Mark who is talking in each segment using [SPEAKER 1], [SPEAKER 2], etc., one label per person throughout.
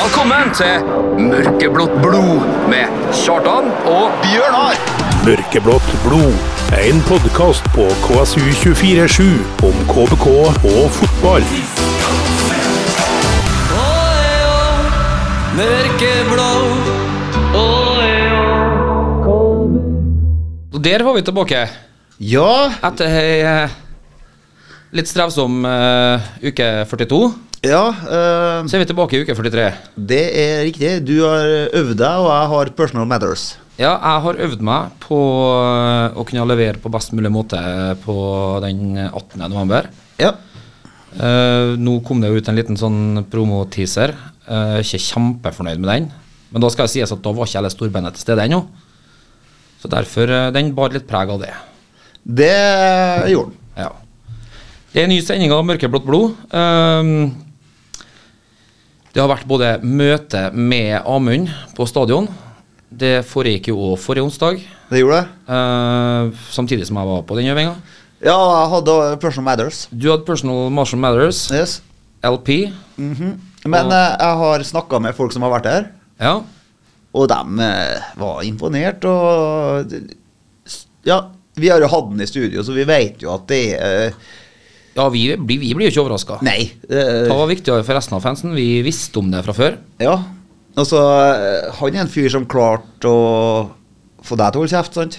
[SPEAKER 1] Velkommen til Mørkeblått blod med Kjartan og
[SPEAKER 2] Bjørnar!
[SPEAKER 3] Mørkeblått blod. En podkast på KSU247 om KBK og fotball.
[SPEAKER 1] Mørkeblå.
[SPEAKER 4] Der var vi tilbake
[SPEAKER 2] Ja,
[SPEAKER 4] etter ei eh, litt strevsom eh, uke 42.
[SPEAKER 2] ja eh,
[SPEAKER 4] Så er vi tilbake i uke 43.
[SPEAKER 2] det er riktig. Du har øvd deg, og jeg har personal matters.
[SPEAKER 4] Ja, jeg har øvd meg på eh, å kunne levere på best mulig måte på den 18. november.
[SPEAKER 2] Ja.
[SPEAKER 4] Eh, nå kom det jo ut en liten sånn promoteaser. Uh, ikke kjempefornøyd med den. Men da skal det sies at da var ikke hele storbeinet til stede ennå. Så derfor eh, den bar litt preg av det.
[SPEAKER 2] Det gjorde han.
[SPEAKER 4] Ja. Det er en ny sending av Mørkeblått blod. Ehm, det har vært både møte med Amund på stadion. Det foregikk jo òg forrige onsdag,
[SPEAKER 2] Det gjorde det.
[SPEAKER 4] eh, samtidig som jeg var på den øvinga.
[SPEAKER 2] Ja, jeg hadde personal matters.
[SPEAKER 4] Du hadde Personal Marshall Matters,
[SPEAKER 2] Yes.
[SPEAKER 4] LP.
[SPEAKER 2] Men eh, jeg har snakka med folk som har vært her,
[SPEAKER 4] Ja.
[SPEAKER 2] og de eh, var imponert og Ja, vi har jo hatt den i studio, så vi vet jo at det er eh,
[SPEAKER 4] ja vi, blir- vi blir jo ikke overraska.
[SPEAKER 2] Nei.
[SPEAKER 4] Det
[SPEAKER 2] eh,
[SPEAKER 4] var viktigere for resten av fansen. Vi visste om det fra før.
[SPEAKER 2] Ja. Altså, eh, han er en fyr som klarte å få deg til å holde kjeft, sant?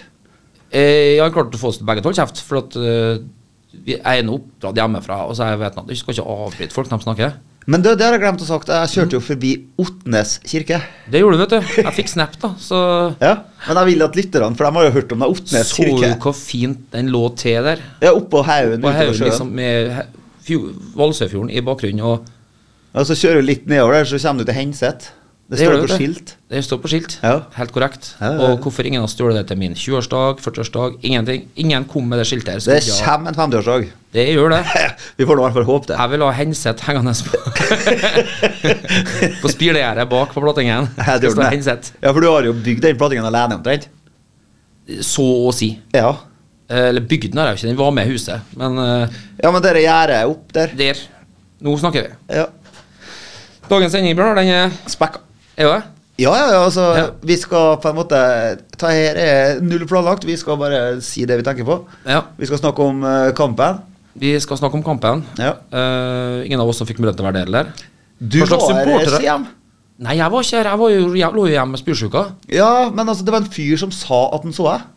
[SPEAKER 4] Eh, Jeg har klart å få oss til begge til å holde kjeft, for at eh, vi jeg er nå oppdratt hjemmefra. Og så er jeg vet at du skal ikke avbryte folk når de snakker.
[SPEAKER 2] Men det, det har jeg glemt å sagt. Jeg kjørte jo forbi Otnes kirke.
[SPEAKER 4] Det gjorde du, vet du. Jeg fikk snap, da. Så
[SPEAKER 2] Ja, Men jeg vil at lytterne, for de har jo hørt om det Otnes
[SPEAKER 4] så du
[SPEAKER 2] kirke.
[SPEAKER 4] hvor fint den lå til der.
[SPEAKER 2] Ja, Oppå haugen
[SPEAKER 4] På
[SPEAKER 2] ute ved
[SPEAKER 4] haugen
[SPEAKER 2] sjøen.
[SPEAKER 4] liksom med he- fjo- Valsøyfjorden i bakgrunnen. Og
[SPEAKER 2] Og så kjører du litt nedover der, så kommer du til Henseth. Det
[SPEAKER 4] gjør
[SPEAKER 2] står
[SPEAKER 4] du,
[SPEAKER 2] på
[SPEAKER 4] vet du.
[SPEAKER 2] skilt.
[SPEAKER 4] Det står på skilt.
[SPEAKER 2] Ja.
[SPEAKER 4] Helt korrekt.
[SPEAKER 2] Ja, ja, ja.
[SPEAKER 4] Og hvorfor ingen har stjålet det til min 20-årsdag, 40-årsdag, ingenting. Ingen kom med det skiltet her. så
[SPEAKER 2] Det
[SPEAKER 4] ja,
[SPEAKER 2] kommer en 50-årsdag.
[SPEAKER 4] det gjør det.
[SPEAKER 2] Vi får nå i hvert fall håpe det.
[SPEAKER 4] Jeg vil ha Henseth hengende på På spirlegjerdet bak på plattingen.
[SPEAKER 2] Ja, det
[SPEAKER 4] Skal stå
[SPEAKER 2] gjorde den,
[SPEAKER 4] Henseth.
[SPEAKER 2] det. Ja, for du har jo bygd den plattingen alene, omtrent.
[SPEAKER 4] Så å si.
[SPEAKER 2] Ja.
[SPEAKER 4] Eh, Eller bygden har jeg jo ikke, den var med i huset. Men eh,
[SPEAKER 2] ja, men dere gjerdet er opp der.
[SPEAKER 4] der. Nå snakker vi.
[SPEAKER 2] Ja.
[SPEAKER 4] Dagens sending, Bjørnar, den er
[SPEAKER 2] Spekka.
[SPEAKER 4] er jo det.
[SPEAKER 2] Ja, ja, ja, altså,
[SPEAKER 4] Ja.
[SPEAKER 2] vi skal på en måte Ta her er null planlagt. Vi skal bare si det vi tenker på.
[SPEAKER 4] Ja.
[SPEAKER 2] Vi skal snakke om eh, kampen.
[SPEAKER 4] Vi skal snakke om kampen.
[SPEAKER 2] Ja.
[SPEAKER 4] Eh, ingen av oss som fikk mulighet til å være der heller.
[SPEAKER 2] Du
[SPEAKER 4] Hva slags
[SPEAKER 2] var her,
[SPEAKER 4] supportere?
[SPEAKER 2] Siem.
[SPEAKER 4] Nei, jeg var ikke her. Jeg, var jo, jeg lå jo hjemme med spysjuka.
[SPEAKER 2] Ja, men altså, det var en fyr som sa at han så deg.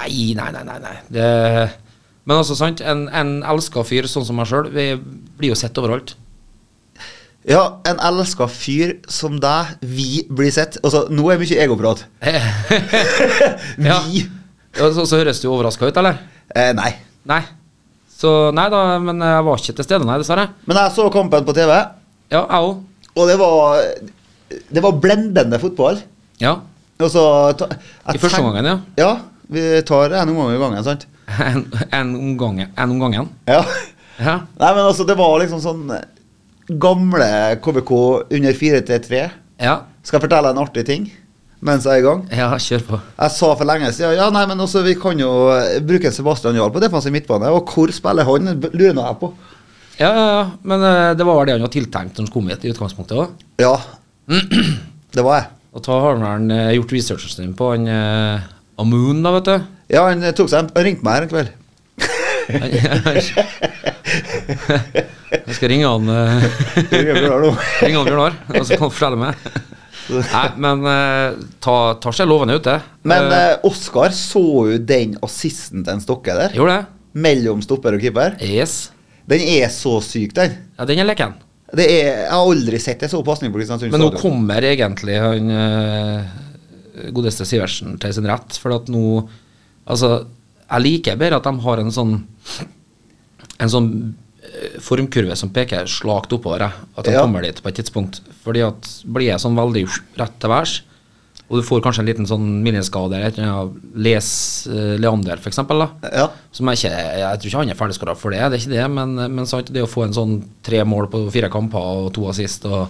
[SPEAKER 4] Nei, nei, nei, nei. nei. Det, men altså, sant. En, en elska fyr sånn som meg sjøl, vi blir jo sett overalt.
[SPEAKER 2] Ja, en elska fyr som deg. Vi blir sett. Altså, nå er mye egoprat. vi
[SPEAKER 4] Ja. Ja, så, så høres du overraska ut, eller?
[SPEAKER 2] eh, Nei.
[SPEAKER 4] Nei. Så nei da, men jeg var ikke til stede, nei, dessverre.
[SPEAKER 2] Men jeg så kampen på TV,
[SPEAKER 4] Ja, jeg òg.
[SPEAKER 2] og det var Det var blendende fotball.
[SPEAKER 4] Ja.
[SPEAKER 2] Og så ta, jeg
[SPEAKER 4] I første
[SPEAKER 2] tenk-
[SPEAKER 4] omgangen, ja.
[SPEAKER 2] Ja. Vi tar en omgang i gangen, sant?
[SPEAKER 4] En, en omgang. En omgangen.
[SPEAKER 2] Ja.
[SPEAKER 4] Ja.
[SPEAKER 2] Nei, men altså, det var liksom sånn Gamle KBK under 4-3.
[SPEAKER 4] Ja,
[SPEAKER 2] Skal jeg fortelle en artig ting mens jeg er i gang?
[SPEAKER 4] ja kjør på.
[SPEAKER 2] Jeg sa for lenge siden ja, nei, men også, vi kan jo eh, bruke Sebastian Jarl på defensiv midtbane. Og hvor spiller han? B- Lurer nå jeg på.
[SPEAKER 4] Ja, ja, ja. Men eh, det var vel det han var tiltenkt når han kom hit i utgangspunktet òg.
[SPEAKER 2] Ja. Det var jeg.
[SPEAKER 4] Og da har han eh, gjort researchen sin på han eh, Amoon, da, vet du.
[SPEAKER 2] Ja, han eh, tok seg en, han ringte meg her en kveld.
[SPEAKER 4] Han- Jeg skal ringe han eh,
[SPEAKER 2] Det gjør vi da nå.
[SPEAKER 4] Ring han Bjørnar, og så kan han fortelle meg. Nei, men eh, ta, tar seg lovende ut, det.
[SPEAKER 2] Men
[SPEAKER 4] Eh,
[SPEAKER 2] eh, Oskar så jo den assisten til en Stokke der.
[SPEAKER 4] Gjorde det?
[SPEAKER 2] Mellom stopper og keeper.
[SPEAKER 4] Yes.
[SPEAKER 2] Den er så syk, den.
[SPEAKER 4] Ja, den er leken.
[SPEAKER 2] Det er, jeg har aldri sett en sånn pasning på Kristiansund
[SPEAKER 4] Men nå
[SPEAKER 2] stadion.
[SPEAKER 4] kommer egentlig han eh, godeste Sivertsen til sin rett. For at nå Altså, jeg liker bedre at de har en sånn En sånn eh, formkurve som peker slakt oppover. jeg. At de
[SPEAKER 2] Ja.
[SPEAKER 4] kommer dit på et tidspunkt. Fordi at blir jeg sånn veldig rett til værs, og du får kanskje en liten sånn miniskade eller et eller annet, Les eh, Leander, for eksempel, da.
[SPEAKER 2] Ja.
[SPEAKER 4] Som jeg, ikke, jeg tror ikke han er ferdigskada for det, det er ikke det, men, men sant, det å få en sånn tre mål på fire kamper og to assist og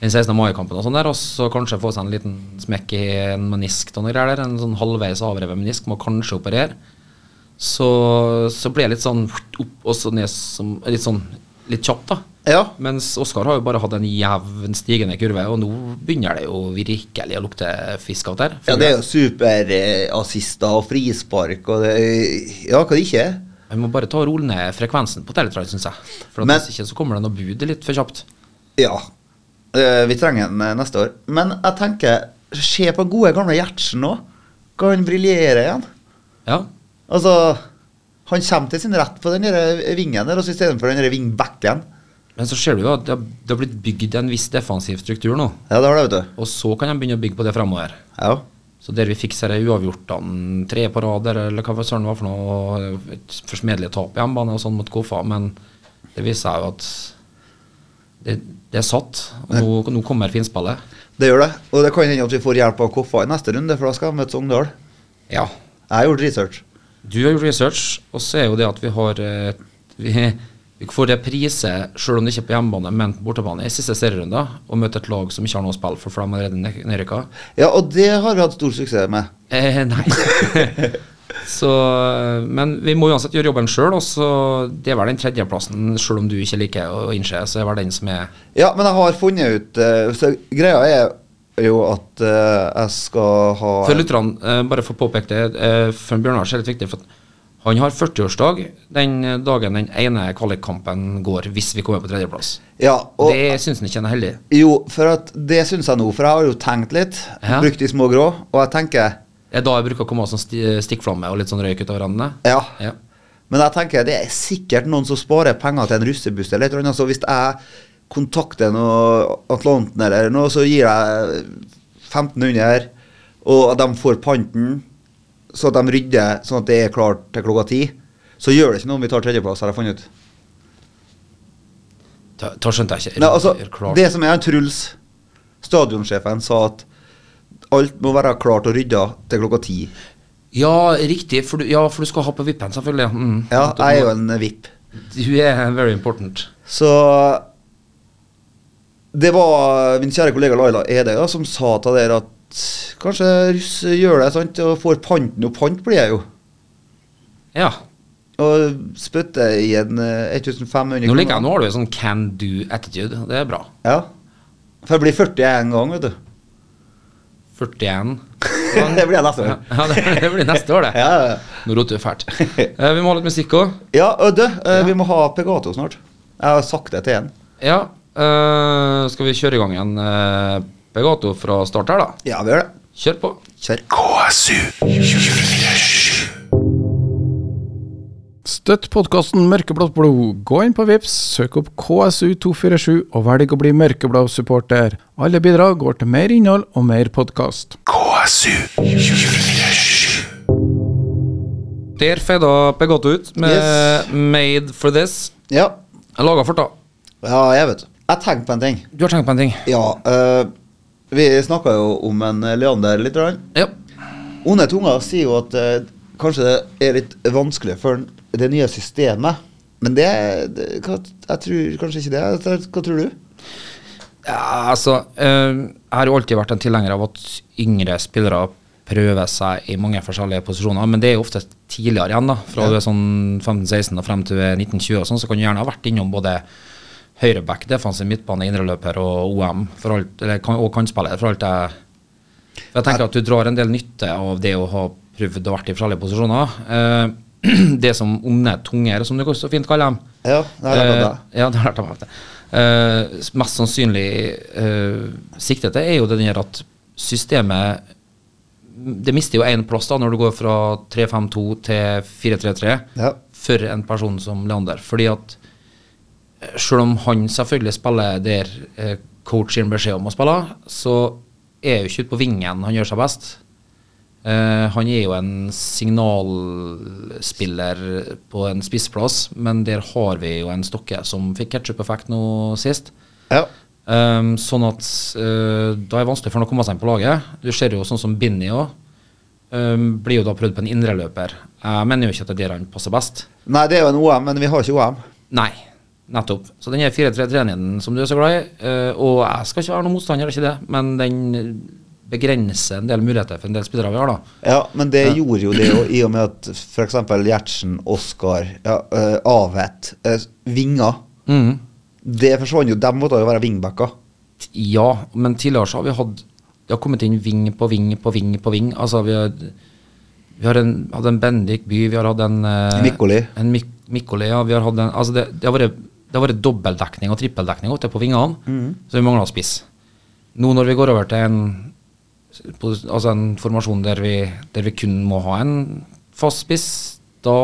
[SPEAKER 4] den 16. mai-kampen og sånn der, og så kanskje få seg en liten smekk i en menisk og noe greier der, en sånn halvveis avrevet menisk, må kanskje operere, så, så blir jeg litt sånn opp og så ned som Litt sånn litt kjapt, da.
[SPEAKER 2] Ja.
[SPEAKER 4] Mens Oskar har jo bare hatt en jevn stigende kurve, og nå begynner det jo virkelig å lukte fisk av der.
[SPEAKER 2] Ja, det er jo superassister og frispark og det Ja, hva det ikke er.
[SPEAKER 4] Vi må bare ta og rolle ned frekvensen på Teletrade, syns jeg. For at
[SPEAKER 2] Men-
[SPEAKER 4] Hvis ikke så kommer det noe bud litt for kjapt.
[SPEAKER 2] Ja. Eh, Vi trenger den eh, neste år. Men jeg tenker, se på gode gamle Gjertsen nå. Kan han briljere igjen?
[SPEAKER 4] Ja.
[SPEAKER 2] Altså, han kommer til sin rett på den der eh, vingen der, altså, og så istedenfor den der vingbacken.
[SPEAKER 4] Men så ser du jo at det har- det har blitt bygd en viss defensiv struktur nå.
[SPEAKER 2] Ja, det har det, vet du.
[SPEAKER 4] Og så kan de begynne å bygge på det fremover.
[SPEAKER 2] Ja.
[SPEAKER 4] Så der vi fikser det uavgjortene, tre på rad der, eller hva søren det var for noe, og et forsmedelig tap på hjemmebane og sånn mot Koffa, men det viser seg jo at det, det er satt, og nå, nå kommer finspillet.
[SPEAKER 2] Det gjør det. Og det kan hende at vi får hjelp av Koffa i neste runde, for da skal de møte Sogndal.
[SPEAKER 4] Ja.
[SPEAKER 2] Jeg har gjort research.
[SPEAKER 4] Du har gjort research, og så er jo det at vi har eh, vi, vi får reprise, selv om det ikke er på hjemmebane, men på bortebane, i siste serierunde, og møter et lag som ikke har noe å spille for, for de er allerede nedrykka.
[SPEAKER 2] Ja, og det har vi hatt stor suksess med.
[SPEAKER 4] Eh, nei. så, eh, men vi må uansett gjøre jobben sjøl. Det er vel den tredjeplassen, sjøl om du ikke liker å innse, så er vel den som er
[SPEAKER 2] Ja, men jeg har funnet ut eh, så Greia er jo at eh, jeg skal ha
[SPEAKER 4] For lytterne, eh, bare for å påpeke det, eh, for Bjørnar så er det litt viktig. for at han har 40-årsdag den dagen den ene kvalikkampen går, hvis vi kommer på tredjeplass.
[SPEAKER 2] Ja, og
[SPEAKER 4] det syns han ikke er heldig.
[SPEAKER 2] jo, for at det syns jeg nå, for jeg har jo tenkt litt.
[SPEAKER 4] Ja.
[SPEAKER 2] Brukt de små grå, og jeg tenker
[SPEAKER 4] Det er da jeg bruker å komme av som sti, stikkflamme og litt sånn røyk ut av randene.
[SPEAKER 2] Ja.
[SPEAKER 4] Ja.
[SPEAKER 2] Men jeg tenker det er sikkert noen som sparer penger til en russebuss eller et eller annet. Så hvis jeg kontakter noe Atlanten eller noe, så gir jeg 1500, og at de får panten, så at de rydder sånn at det er klart til klokka ti, så gjør det ikke noe om vi tar tredjeplass, har jeg funnet ut.
[SPEAKER 4] Da, da skjønte jeg ikke.
[SPEAKER 2] Nei, altså,
[SPEAKER 4] Klart.
[SPEAKER 2] det som er han Truls, stadionsjefen, sa at alt må være klart og rydda til klokka ti.
[SPEAKER 4] Ja, riktig. For du, ja, for du skal ha på vippen, selvfølgelig. Mm.
[SPEAKER 2] Ja, jeg er jo en vipp.
[SPEAKER 4] Du er very important.
[SPEAKER 2] Så det var min kjære kollega Laila Edøya som sa til dere at kanskje russ gjør det, sant, og får panten og pant blir jeg jo.
[SPEAKER 4] Ja.
[SPEAKER 2] Og spytte i en eh, 1500
[SPEAKER 4] Nå liker jeg, nå har du en sånn can do attitude. Det er bra.
[SPEAKER 2] Ja. For jeg blir 40 en gang, vet du.
[SPEAKER 4] 41.
[SPEAKER 2] det blir jeg neste
[SPEAKER 4] Ja,
[SPEAKER 2] år.
[SPEAKER 4] ja, det, det blir neste år, det.
[SPEAKER 2] Ja, ja, ja.
[SPEAKER 4] Nå roter du fælt. Eh, vi må ha litt musikk òg.
[SPEAKER 2] ja og du, eh, vi må ha Pegato snart. Jeg har sagt det til en.
[SPEAKER 4] Ja. eh, skal vi kjøre i gang en eh, Pegato fra start her, da?
[SPEAKER 2] Ja, vi gjør det.
[SPEAKER 4] Kjør på.
[SPEAKER 2] Kjør.
[SPEAKER 3] KSU 247.
[SPEAKER 5] Støtt podkasten Mørkeblått blod. Gå inn på Vips, søk opp KSU247 og velg å bli mørkeblå supporter. Alle bidrag går til mer innhold og mer podkast.
[SPEAKER 3] KSU 247.
[SPEAKER 4] Der fada Pegato ut med
[SPEAKER 2] Yes.
[SPEAKER 4] 'Made for This'.
[SPEAKER 2] Ja.
[SPEAKER 4] Jeg laga fort, da.
[SPEAKER 2] ja, jeg vet. Jeg tenkte på en ting.
[SPEAKER 4] Du har tenkt på en ting?
[SPEAKER 2] Ja, eh, vi snakka jo om en eh, Leander litt. Rann.
[SPEAKER 4] Ja.
[SPEAKER 2] Onde tunger sier jo at eh, kanskje det er litt vanskelig for den- det nye systemet. Men det, det hva, Jeg tror kanskje ikke det. Hva, hva tror du?
[SPEAKER 4] Ja, altså, eh, jeg har jo alltid vært en tilhenger av at yngre spillere prøver seg i mange forskjellige posisjoner, men det er jo ofte tidligere igjen, da. Fra du er sånn 15-16 og frem til 1920 og sånn, så kan du gjerne ha vært innom både høyreback, defensiv midtbane, indreløper og OM, for alt, eller, kan- og kantspiller, for alt jeg for jeg tenker at du drar en del nytte av det å ha prøvd å vært i forskjellige posisjoner. Eh, det som onde tunger, som du så fint kaller dem.
[SPEAKER 2] Ja, det har jeg lært av
[SPEAKER 4] Eh, ja, det har jeg lært av meg. Eh, s- mest sannsynlig eh, siktet til er jo det der at systemet Det mister jo én plass da når du går fra 3-5-2 til 4-3-3
[SPEAKER 2] Ja.
[SPEAKER 4] for en person som Leander. Fordi at selv om han selvfølgelig spiller der eh, coach gir ham beskjed om å spille, så er jo ikke ute på vingen han gjør seg best. Eh, han er jo en signalspiller på en spissplass, men der har vi jo en stokke som fikk ketsjup-effekt nå sist.
[SPEAKER 2] Ja.
[SPEAKER 4] Ehm, sånn at eh, da er det vanskelig for han å komme seg inn på laget. Du ser jo sånn som Binni òg. blir jo da prøvd på en indreløper. Jeg mener jo ikke at det er der han passer best.
[SPEAKER 2] Nei, det er jo en OM, men vi har ikke OM.
[SPEAKER 4] Nei, nettopp. Så den er 4-3-3-en som du er så glad i. eh, og jeg skal ikke være noen motstander, ikke det, men den begrenser en del muligheter for en del spillere vi har, da.
[SPEAKER 2] Ja, Men det gjorde jo det, jo, i og med at f.eks. Gjertsen, Oskar, ja, eh, Avet, eh, Vinga Det forsvant jo. De måtte jo være wingbacker.
[SPEAKER 4] Ja, men tidligere så har vi hatt Det har kommet inn ving på ving på ving på ving. Altså, vi har, vi har en, hatt en Bendik By, vi har hatt en eh,
[SPEAKER 2] Mikkoli.
[SPEAKER 4] En Mik Mikkoli, ja. Vi har hatt en Altså, det, det har vært det har vært dobbeltdekning og trippeldekning ute på vingene, så vi mangla spiss. Nå når vi går over til en på- Altså en formasjon der vi, der vi kun må ha en fast spiss, da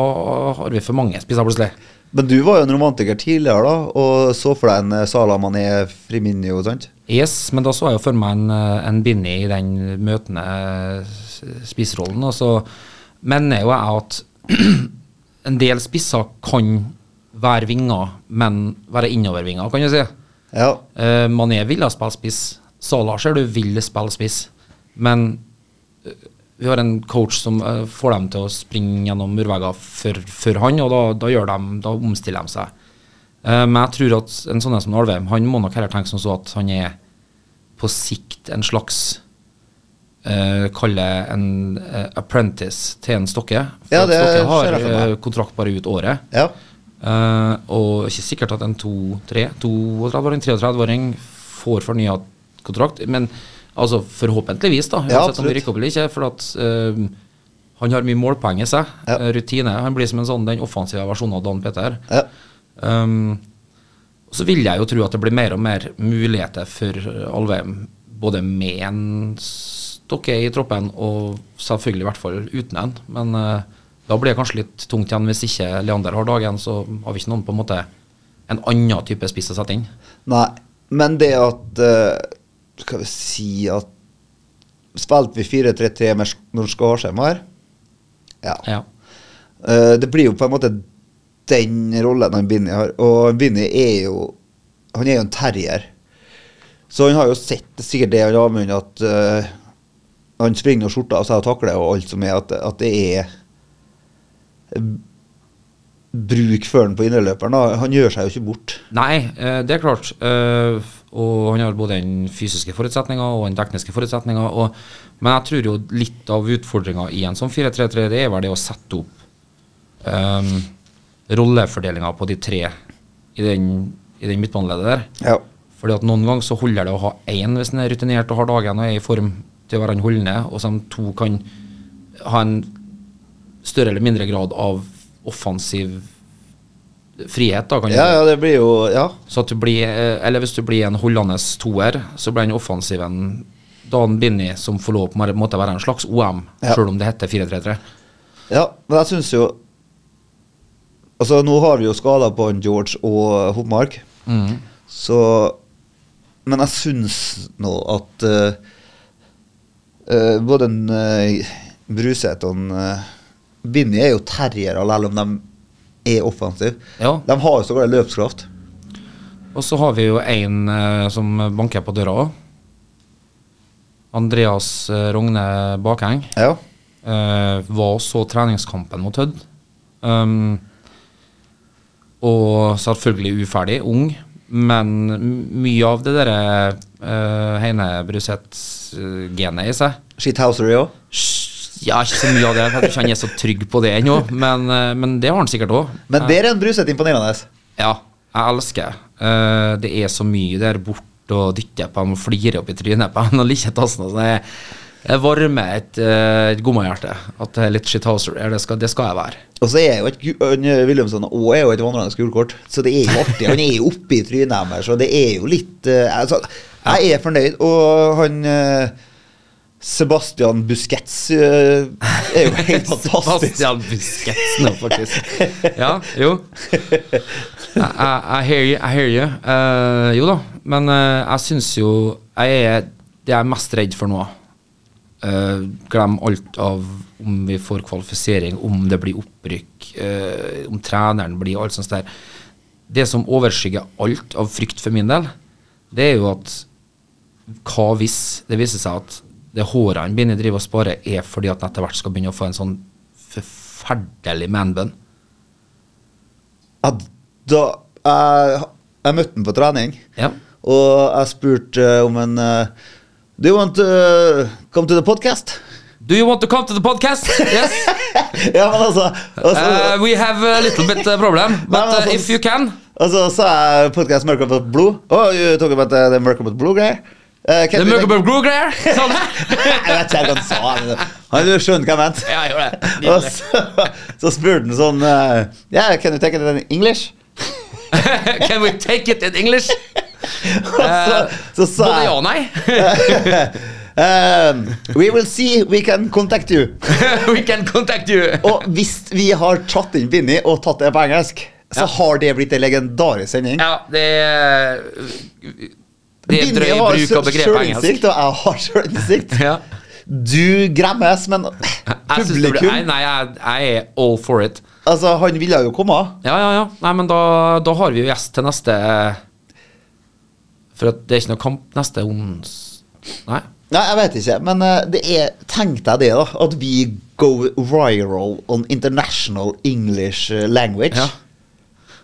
[SPEAKER 4] har vi for mange spisser plutselig.
[SPEAKER 2] Men du var jo en romantiker tidligere, da, og så for deg en eh, Salah Mané Friminio, sant?
[SPEAKER 4] Yes, men da så jeg jo for meg en, eh, en Binni i den møtende eh, s- spissrollen. Og så mener jo jeg at en del spisser kan være vinger, men være innovervinger, kan du si.
[SPEAKER 2] Ja.
[SPEAKER 4] Eh, Mané ville spille spiss. Salah ser du ville spille spiss. Men eh, vi har en coach som eh, får dem til å springe gjennom murvegger for, for han, og da, da, gjør de, da omstiller de seg. Eh, men jeg tror at en sånn en som Alvheim han må nok heller tenke som så at han er på sikt en slags eh, Kalle en eh, apprentice til en Stokke. For
[SPEAKER 2] Ja,
[SPEAKER 4] at
[SPEAKER 2] det
[SPEAKER 4] Stokke
[SPEAKER 2] ser
[SPEAKER 4] har
[SPEAKER 2] jeg for meg.
[SPEAKER 4] eh, kontrakt bare ut året.
[SPEAKER 2] ja.
[SPEAKER 4] Eh, og ikke sikkert at en 32-åring, 33-åring får fornya kontrakt. Men altså forhåpentligvis, da.
[SPEAKER 2] Ja,
[SPEAKER 4] Uansett om
[SPEAKER 2] absolutt.
[SPEAKER 4] vi rykker opp eller ikke. For at eh, han har mye målpoeng i seg.
[SPEAKER 2] Ja.
[SPEAKER 4] eh, rutine. Han blir som en sånn den offensive versjonen av Dan Peter.
[SPEAKER 2] Ja.
[SPEAKER 4] Um, så vil jeg jo tro at det blir mer og mer muligheter for eh, Alvheim, både med en stokke i troppen og selvfølgelig i hvert fall uten en. Men eh, da blir det kanskje litt tungt igjen hvis ikke Leander har dagen, så har vi ikke noen på en måte en annen type spiss å sette inn.
[SPEAKER 2] Nei. Men det at eh, Skal vi si at Spilte vi 4-3-3 med Sk- når Skarsheim var her? Ja.
[SPEAKER 4] Ja.
[SPEAKER 2] Eh, det blir jo på en måte den rollen han Binni har. Og Binni er jo Han er jo en terrier. Så han har jo sett sikkert det han avmunner, at eh, han springer og skjorta av seg og takler og alt som er, at, at det er b- bruk for han på indreløperen. da. Han gjør seg jo ikke bort.
[SPEAKER 4] Nei, eh, det er klart. Eh, og han har både den fysiske forutsetninga og den tekniske forutsetninga. og- Men jeg tror jo litt av utfordringa i en sånn 4-3-3, det er vel det å sette opp um, rollefordelinga på de tre i den, i den midtbaneleddet der.
[SPEAKER 2] Ja.
[SPEAKER 4] Fordi at noen ganger så holder det å ha én hvis den er rutinert og har dagen og er i form til å være en holdende, og så de to kan ha en større eller mindre grad av offensiv frihet, da, kan du
[SPEAKER 2] ja,
[SPEAKER 4] si.
[SPEAKER 2] ja, det blir jo Ja.
[SPEAKER 4] Så at du blir, eh, eller hvis du blir en holdende toer, så blir den offensiven Dan Binni som får lov på en måte å være en slags OM,
[SPEAKER 2] Ja.
[SPEAKER 4] selv om det heter 4-3-3.
[SPEAKER 2] Ja, men jeg syns jo Altså, nå har vi jo skader på han George og Hopmark, så Men jeg syns nå at eh, eh, både en, eh, Bruseth og en, eh, Binni er jo terriere, selv om de er offensive.
[SPEAKER 4] Ja.
[SPEAKER 2] De har jo så god løpskraft.
[SPEAKER 4] Og så har vi jo en eh, som banker på døra òg. Andreas eh, Rogne Bakheng.
[SPEAKER 2] Ja.
[SPEAKER 4] eh, var så treningskampen mot Hødd. Um, og selvfølgelig uferdig, ung, men m- mye av det derre uh, Heine Bruseth-genet i seg
[SPEAKER 2] Shithousery òg.
[SPEAKER 4] Sj, Ja, ikke så mye av det, for jeg tror ikke han er så trygg på det ennå, men, eh, men det har han sikkert òg.
[SPEAKER 2] Men der er en Bruseth imponerende.
[SPEAKER 4] Ja, jeg elsker Eh, det. er så mye der borte og dytter på ham og flirer opp i trynet på ham og liker tassen. og sånn. Jeg- Jeg varmer et, uh, et gommahjerte. At det er litt shithouser. Det skal, det skal jeg være.
[SPEAKER 2] Og så er jo et gu- han, eh, Williamson også er jo et vandrende skolekort, så det er jo artig. Han er jo oppe i trynet deres, og det er jo litt eh, altså, Jeg er fornøyd, og han eh, Sebastian Busquets eh, er jo helt fantastisk.
[SPEAKER 4] Bastian Busquets nå, faktisk. Ja, jo. Jeg- jeg- jeg hear you. I hear you. Eh, jo da, men eh, jeg syns jo jeg er, Det jeg er mest redd for nå eh, Glem alt av om vi får kvalifisering, om det blir opprykk, eh, om treneren blir alt sånt der. Det som overskygger alt av frykt for min del, det er jo at hva hvis det viser seg at det håret han begynner å drive og spare, er fordi at han etter hvert skal begynne å få en sånn forferdelig manbun.
[SPEAKER 2] Ja, da jeg, jeg møtte han på trening,
[SPEAKER 4] Ja.
[SPEAKER 2] og jeg spurte eh, om en eh, Do you want to eh, come to the podcast?
[SPEAKER 4] Do you want to come to the podcast? Yes.
[SPEAKER 2] ja, men altså, altså
[SPEAKER 4] Uh, we have a little bit uh, problem,
[SPEAKER 2] Nei, men
[SPEAKER 4] but uh,
[SPEAKER 2] altså-
[SPEAKER 4] if you can.
[SPEAKER 2] Og så sa jeg podkast Mørk og blod. Oh, you talking about the, the Mørk og blod greie? Uh,
[SPEAKER 4] The Murkable Blue Glare! Sa han det?
[SPEAKER 2] jeg vet ikke hva han sa. men Han skjønte hva jeg mente.
[SPEAKER 4] Sånn. Ja, jeg gjorde det.
[SPEAKER 2] Og
[SPEAKER 4] Nydelig.
[SPEAKER 2] så, så spurte han sånn eh, Yeah, can you take it in English?
[SPEAKER 4] Can we take it in English?
[SPEAKER 2] Og så,
[SPEAKER 4] Eh,
[SPEAKER 2] så sa
[SPEAKER 4] Både ja
[SPEAKER 2] jeg
[SPEAKER 4] og nei.
[SPEAKER 2] um, We will see, we can contact you.
[SPEAKER 4] We can contact you.
[SPEAKER 2] Og hvis vi har tatt inn Vinni og tatt det på engelsk, så
[SPEAKER 4] Ja.
[SPEAKER 2] har det blitt en legendarisk sending.
[SPEAKER 4] Ja, det er Det er drøy
[SPEAKER 2] Vinni har
[SPEAKER 4] bruk av begrepet engelsk.
[SPEAKER 2] sjølinnsikt, og jeg har sjølinnsikt.
[SPEAKER 4] Ja.
[SPEAKER 2] Du gremmes, men
[SPEAKER 4] Jeg synes det blir, nei,
[SPEAKER 2] publikum
[SPEAKER 4] nei, jeg, jeg er all for it.
[SPEAKER 2] Altså, han ville jo komme.
[SPEAKER 4] Ja, ja, ja. Nei, men da, da har vi jo gjest til neste For at det er ikke noe kamp neste ons... Nei.
[SPEAKER 2] Nei, jeg vet ikke, men eh, det er Tenk deg det, da. At vi go viral on international English eh, language.
[SPEAKER 4] Ja.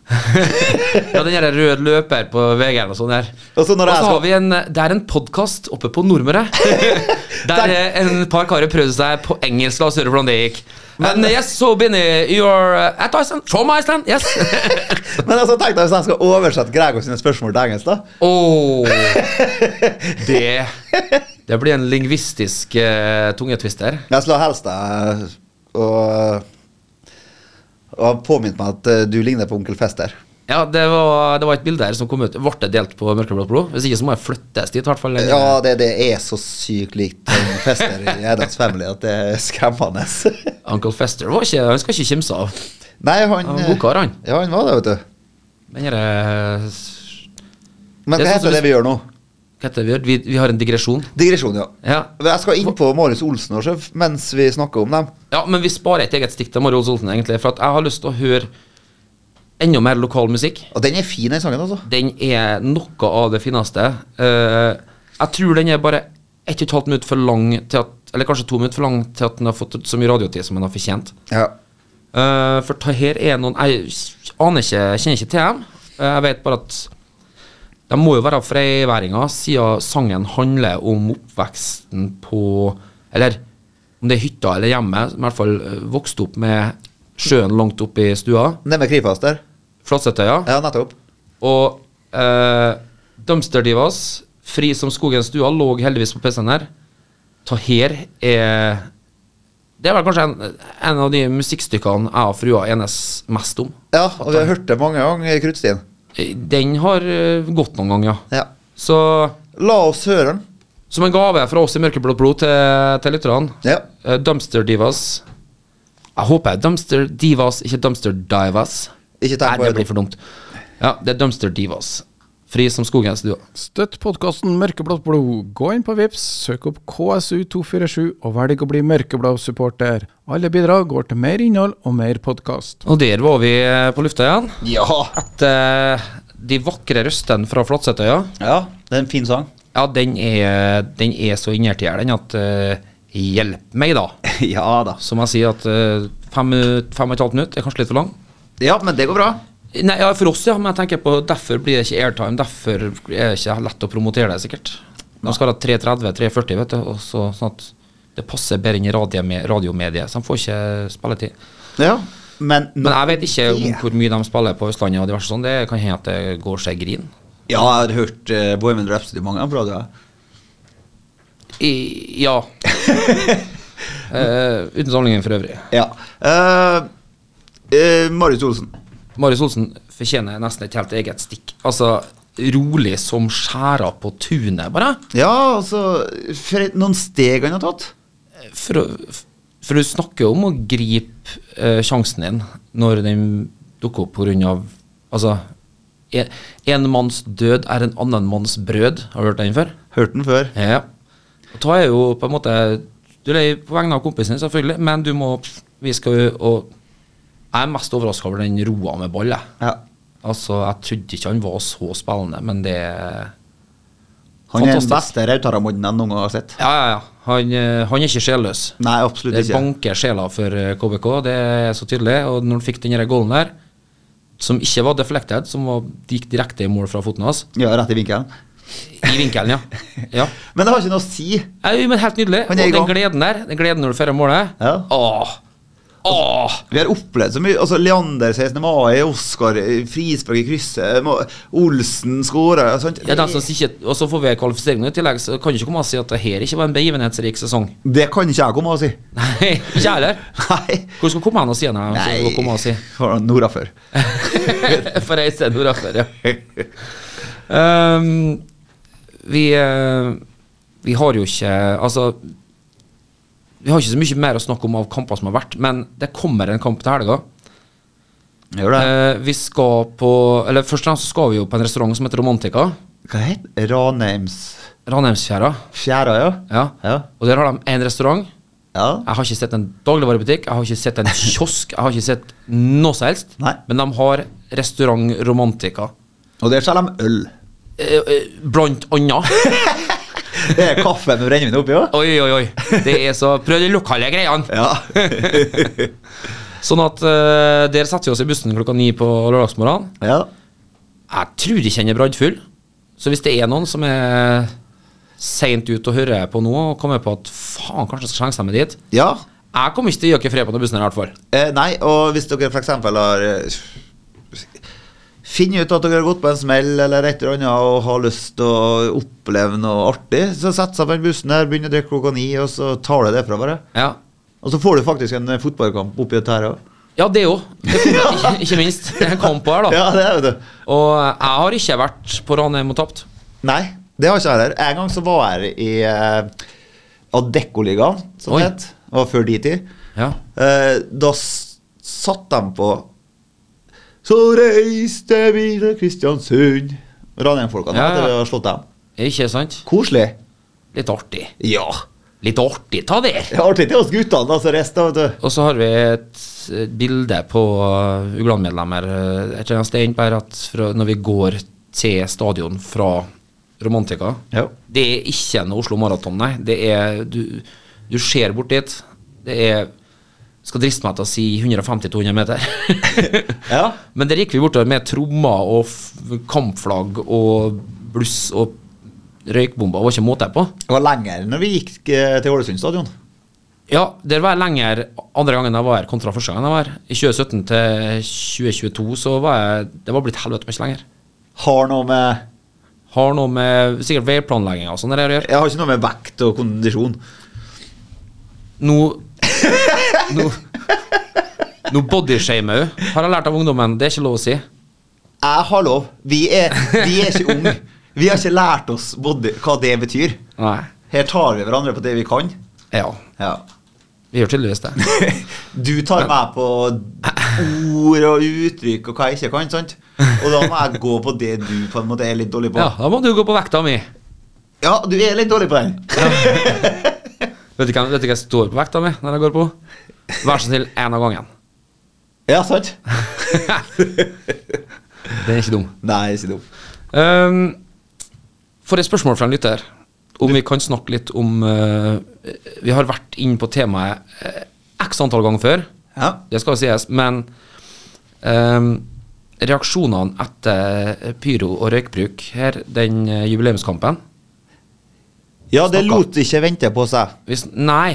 [SPEAKER 4] ja, den der røde løper på VG eller sånn der.
[SPEAKER 2] Og så
[SPEAKER 4] Og
[SPEAKER 2] når jeg
[SPEAKER 4] så
[SPEAKER 2] skal-
[SPEAKER 4] har vi en Det er en podkast oppe på Nordmøre. der eh, en par karer prøvde seg på engelsk. La oss høre hvordan det gikk. Men yes, so Binny, you are at Iceland? From Iceland? Yes.
[SPEAKER 2] Men altså, tenk deg hvis jeg skal oversette Gregor sine spørsmål til engelsk, da.
[SPEAKER 4] Åh det Det blir en lingvistisk eh, tungetwister.
[SPEAKER 2] Jeg skulle helst eh, deg og, og påminnet meg at eh, du ligner på onkel Fester.
[SPEAKER 4] Ja, det var, det var et bilde her som kom ut. Ble det delt på Mørkeblått blod? Hvis ikke så må jeg flyttes dit, i hvert fall.
[SPEAKER 2] Ja, det, det er så sykt likt en Fester i Edens Family at det er skremmende.
[SPEAKER 4] Uncle Fester var ikke, han skal ikke kimse av.
[SPEAKER 2] Nei, han
[SPEAKER 4] Han var god kar, han.
[SPEAKER 2] Ja, han var det, vet du.
[SPEAKER 4] Men her er
[SPEAKER 2] Men
[SPEAKER 4] Det er
[SPEAKER 2] hva
[SPEAKER 4] sånn som
[SPEAKER 2] heter det
[SPEAKER 4] hvis-
[SPEAKER 2] vi gjør nå?
[SPEAKER 4] Hva heter det vi gjør? Vi, vi har en digresjon.
[SPEAKER 2] Digresjon, ja.
[SPEAKER 4] Ja.
[SPEAKER 2] Men Jeg skal inn på Marius Olsen og Sjøf mens vi snakker om dem.
[SPEAKER 4] ja, men vi sparer et eget stikk til Mari Olsen Olsen, egentlig. For at jeg har lyst til å høre enda mer lokal musikk.
[SPEAKER 2] Og den er fin, den sangen, altså.
[SPEAKER 4] Den er noe av det fineste. Eh, jeg tror den er bare ett og et halvt minutt for lang til at Eller kanskje to minutter for lang til at den har fått så mye radiotid som den har fortjent.
[SPEAKER 2] Ja.
[SPEAKER 4] Eh, for ta her er noen Jeg s- aner ikke, jeg kjenner ikke til dem. Eh, jeg vet bare at de må jo være freiværinger, siden sangen handler om oppveksten på Eller om det er hytta eller hjemmet, som i hvert fall eh, vokste opp med sjøen langt opp i stua.
[SPEAKER 2] Den er med Kripast der.
[SPEAKER 4] Flatsetøya.
[SPEAKER 2] Ja, nettopp.
[SPEAKER 4] Og eh, Dumpster Divas, Fri som skogen stua, lå heldigvis på PC-en her. Taher er Det er vel kanskje en, en av de musikkstykkene jeg og frua enes mest om.
[SPEAKER 2] Ja, og vi har hørt det mange ganger i Kruttstien.
[SPEAKER 4] Den har eh, gått noen ganger, ja.
[SPEAKER 2] Ja.
[SPEAKER 4] Så
[SPEAKER 2] La oss høre den.
[SPEAKER 4] som en gave fra oss i Mørkeblått blod til, til lytterne
[SPEAKER 2] Ja.
[SPEAKER 4] eh, Dumpster Divas Jeg håper det er Dumpster Divas, ikke Dumpster Divas.
[SPEAKER 2] Ikke
[SPEAKER 4] Nei,
[SPEAKER 2] tenk på
[SPEAKER 4] det blir for dumt. Ja, det er Dumpster Divas. Fri som skogen stua.
[SPEAKER 5] Støtt podkasten Mørkeblått blod. Gå inn på Vips, søk opp KSU247 og velg å bli Mørkeblå-supporter. Alle bidrag går til mer innhold og mer podkast.
[SPEAKER 4] Og der var vi eh, på lufta igjen.
[SPEAKER 2] Ja.
[SPEAKER 4] Etter de vakre røstene fra Flatsetøya.
[SPEAKER 2] ja. Det er en fin sang.
[SPEAKER 4] Ja, den er, den er så innertier, den, at eh, Hjelp meg, da.
[SPEAKER 2] ja da.
[SPEAKER 4] Som jeg sier, at eh, fem, minut- fem og et halvt minutt er kanskje litt for lang.
[SPEAKER 2] Ja, men det går bra.
[SPEAKER 4] Nei, ja, for oss, ja, men jeg tenker på derfor blir det ikke airtime. Derfor er det ikke lett å promotere det, sikkert. De skal ha 3.30-3.40, vet du, og så, sånn at det passer bedre inn i radiome- radiomediet. Så de får ikke spilletid.
[SPEAKER 2] Ja. Men,
[SPEAKER 4] Men jeg vet ikke om
[SPEAKER 2] Ja.
[SPEAKER 4] hvor mye de spiller på Østlandet og diverse sånn. Det kan hende at det går seg grin.
[SPEAKER 2] Ja, jeg har hørt uh, Boyman Rhapsody mange ganger på radio. jeg.
[SPEAKER 4] I, ja. Eh, uten sammenligning for øvrig.
[SPEAKER 2] Ja. Eh, eh, Marius Olsen.
[SPEAKER 4] Marius Olsen fortjener nesten et helt eget stikk. Altså, rolig som skjæra på tunet, bare.
[SPEAKER 2] Ja, altså for et- Noen steg han har tatt.
[SPEAKER 4] For, å- for du snakker jo om å gripe eh, sjansen din når den dukker opp pga. Altså, en, en manns død er en annen manns brød. Har du hørt den før?
[SPEAKER 2] Hørt den før.
[SPEAKER 4] Ja. Og da er jo på en måte Du er på vegne av kompisen din, selvfølgelig, men du må Vi skal jo og Jeg er mest overraska over den roa med ball, jeg.
[SPEAKER 2] Ja.
[SPEAKER 4] Altså, jeg trodde ikke han var så spillende, men det
[SPEAKER 2] Han er den
[SPEAKER 4] Fantastisk.
[SPEAKER 2] beste rautaramodden jeg noen gang har sett.
[SPEAKER 4] Ja, ja, ja. Han, eh, han er ikke sjelløs.
[SPEAKER 2] Nei, absolutt
[SPEAKER 4] Det
[SPEAKER 2] ikke.
[SPEAKER 4] banker sjela for eh, KBK, det er så tydelig. Og når han fikk den der goalen der, som ikke var deflected, som var, gikk direkte i mål fra foten hans
[SPEAKER 2] Ja, rett i vinkelen.
[SPEAKER 4] I vinkelen, ja. ja.
[SPEAKER 2] Men det har ikke noe å si.
[SPEAKER 4] Nei, men helt nydelig.
[SPEAKER 2] Han
[SPEAKER 4] Og
[SPEAKER 2] er i
[SPEAKER 4] den
[SPEAKER 2] gang.
[SPEAKER 4] gleden der, den gleden når du feirer målet
[SPEAKER 2] Ja.
[SPEAKER 4] Åh, Åh!
[SPEAKER 2] Vi har opplevd så mye. altså Leander 16. mai, Oskar, frispark i krysset, Mo- Olsen skåra
[SPEAKER 4] Ja, altså- de som ikke, og så får vi en kvalifisering i tillegg, så kan du ikke komme og si at det her ikke var en begivenhetsrik sesong.
[SPEAKER 2] Det kan ikke jeg komme og si.
[SPEAKER 4] Nei, ikke jeg heller.
[SPEAKER 2] Nei.
[SPEAKER 4] Hvor skal du komme hen og si det? Nei. Skal komme og si?
[SPEAKER 2] Har han Nora før?
[SPEAKER 4] For jeg ser nordafor, ja. Ehm, vi, eh, vi har jo ikke Altså Vi har ikke så mye mer å snakke om av kamper som har vært, men det kommer en kamp til helga.
[SPEAKER 2] Gjør det.
[SPEAKER 4] Eh, vi skal på Eller først og fremst så skal vi jo på en restaurant som heter Romantica.
[SPEAKER 2] Hva heter det? Ranheims
[SPEAKER 4] Ranheimsfjæra.
[SPEAKER 2] Fjæra, ja.
[SPEAKER 4] Ja.
[SPEAKER 2] Ja.
[SPEAKER 4] Og der har de én restaurant.
[SPEAKER 2] ja.
[SPEAKER 4] Jeg har ikke sett en dagligvarebutikk, jeg har ikke sett en kiosk, jeg har ikke sett noe som helst.
[SPEAKER 2] Nei.
[SPEAKER 4] Men de har restaurant Romantica.
[SPEAKER 2] Og der selger de øl.
[SPEAKER 4] Eh, eh, blant annet.
[SPEAKER 2] Det er kaffe med brennevin oppi òg?
[SPEAKER 4] Oi, oi, oi. Det er så Prøv de lokale greiene.
[SPEAKER 2] Ja.
[SPEAKER 4] Sånn at eh, der setter vi oss i bussen klokka ni på lørdagsmorgenen.
[SPEAKER 2] ja.
[SPEAKER 4] Jeg tror ikke han er braddfull. Så hvis det er noen som er seint ute og hører på nå og kommer på at faen, kanskje jeg skal slenge seg med dit
[SPEAKER 2] ja.
[SPEAKER 4] Jeg kommer ikke til å gjøre fred på den bussen her, i hvert fall.
[SPEAKER 2] Eh, nei, og hvis dere f.eks. har eh, Finner ut at dere har gått på en smell eller et eller annet og har lyst til å oppleve noe artig, så sett seg på den bussen der, begynner å drikke klokka ni, og så tar det derfra, bare.
[SPEAKER 4] Ja,
[SPEAKER 2] Og så får du faktisk en eh, fotballkamp oppi dette her òg.
[SPEAKER 4] ja det òg. Ikke, ikke minst. Det er en kamp her, da.
[SPEAKER 2] Ja, det er det.
[SPEAKER 4] Og jeg har ikke vært på Ranheim og tapt.
[SPEAKER 2] Nei, det har ikke jeg heller. En gang så var jeg i eh, Adeccoligaen, som
[SPEAKER 4] Oi.
[SPEAKER 2] det het. Det var før de tid.
[SPEAKER 4] Ja.
[SPEAKER 2] Eh, da s satt de på Så reiste vi til Kristiansund. Ranheim-folkene.
[SPEAKER 4] Ja,
[SPEAKER 2] Ja,
[SPEAKER 4] ja.
[SPEAKER 2] ja. Slått dem.
[SPEAKER 4] Ikke sant?
[SPEAKER 2] Koselig.
[SPEAKER 4] Litt artig.
[SPEAKER 2] Ja.
[SPEAKER 4] Litt artig ta der.
[SPEAKER 2] Det er artig til oss guttene, altså. Resten, vet du.
[SPEAKER 4] Og så har vi et et bilde på uh, Ugland-medlemmer uh, et eller annet sted innpå her at fra, når vi går til stadion fra Romantica
[SPEAKER 2] Ja.
[SPEAKER 4] Det er ikke en Oslo Maraton, nei. Det er, du, du ser bort dit. Det er skal driste meg til å si 150-200 meter.
[SPEAKER 2] Ja.
[SPEAKER 4] Men der gikk vi bortover med trommer og f kampflagg og bluss og røykbomber. Det var ikke måte på.
[SPEAKER 2] Det var lenger når vi gikk eh, til Ålesund stadion.
[SPEAKER 4] Ja, der var jeg lenger andre gangen jeg var her, kontra første gangen jeg var her. I 2017 til 2022 så var jeg Det var blitt helvete mye lenger.
[SPEAKER 2] Har noe med
[SPEAKER 4] Har noe med sikkert veiplanlegginga og sånn der å gjøre.
[SPEAKER 2] Jeg har ikke noe med vekt og kondisjon.
[SPEAKER 4] Nå Nå, nå bodyshamer hun, har jeg lært av ungdommen. Det er ikke lov å si.
[SPEAKER 2] Jeg har lov. Vi er, vi er ikke unge. Vi har ikke lært oss både hva det betyr.
[SPEAKER 4] Nei.
[SPEAKER 2] Her tar vi hverandre på det vi kan.
[SPEAKER 4] Ja,
[SPEAKER 2] Ja.
[SPEAKER 4] vi gjør tydeligvis det.
[SPEAKER 2] Du tar meg på ord og uttrykk og hva jeg ikke kan, sant? Og da må jeg gå på det du på en måte er litt dårlig på.
[SPEAKER 4] Ja,
[SPEAKER 2] Ja,
[SPEAKER 4] da må du gå på vekta mi.
[SPEAKER 2] du er litt dårlig på den.
[SPEAKER 4] Vet du hvem vet du hva jeg står på vekta mi når jeg går på? Vær så snill, én av gangen.
[SPEAKER 2] Ja, sant?
[SPEAKER 4] Den er ikke dum.
[SPEAKER 2] Nei, ikke dum.
[SPEAKER 4] Um, for et spørsmål fra en lytter. Om vi kan snakke litt om eh, Vi har vært inn på temaet eh, x antall ganger før,
[SPEAKER 2] Ja.
[SPEAKER 4] det skal sies, men ehm, reaksjonene etter pyro og røykbruk her, den eh, jubileumskampen
[SPEAKER 2] ja, det lot ikke vente på seg.
[SPEAKER 4] hvis, Nei,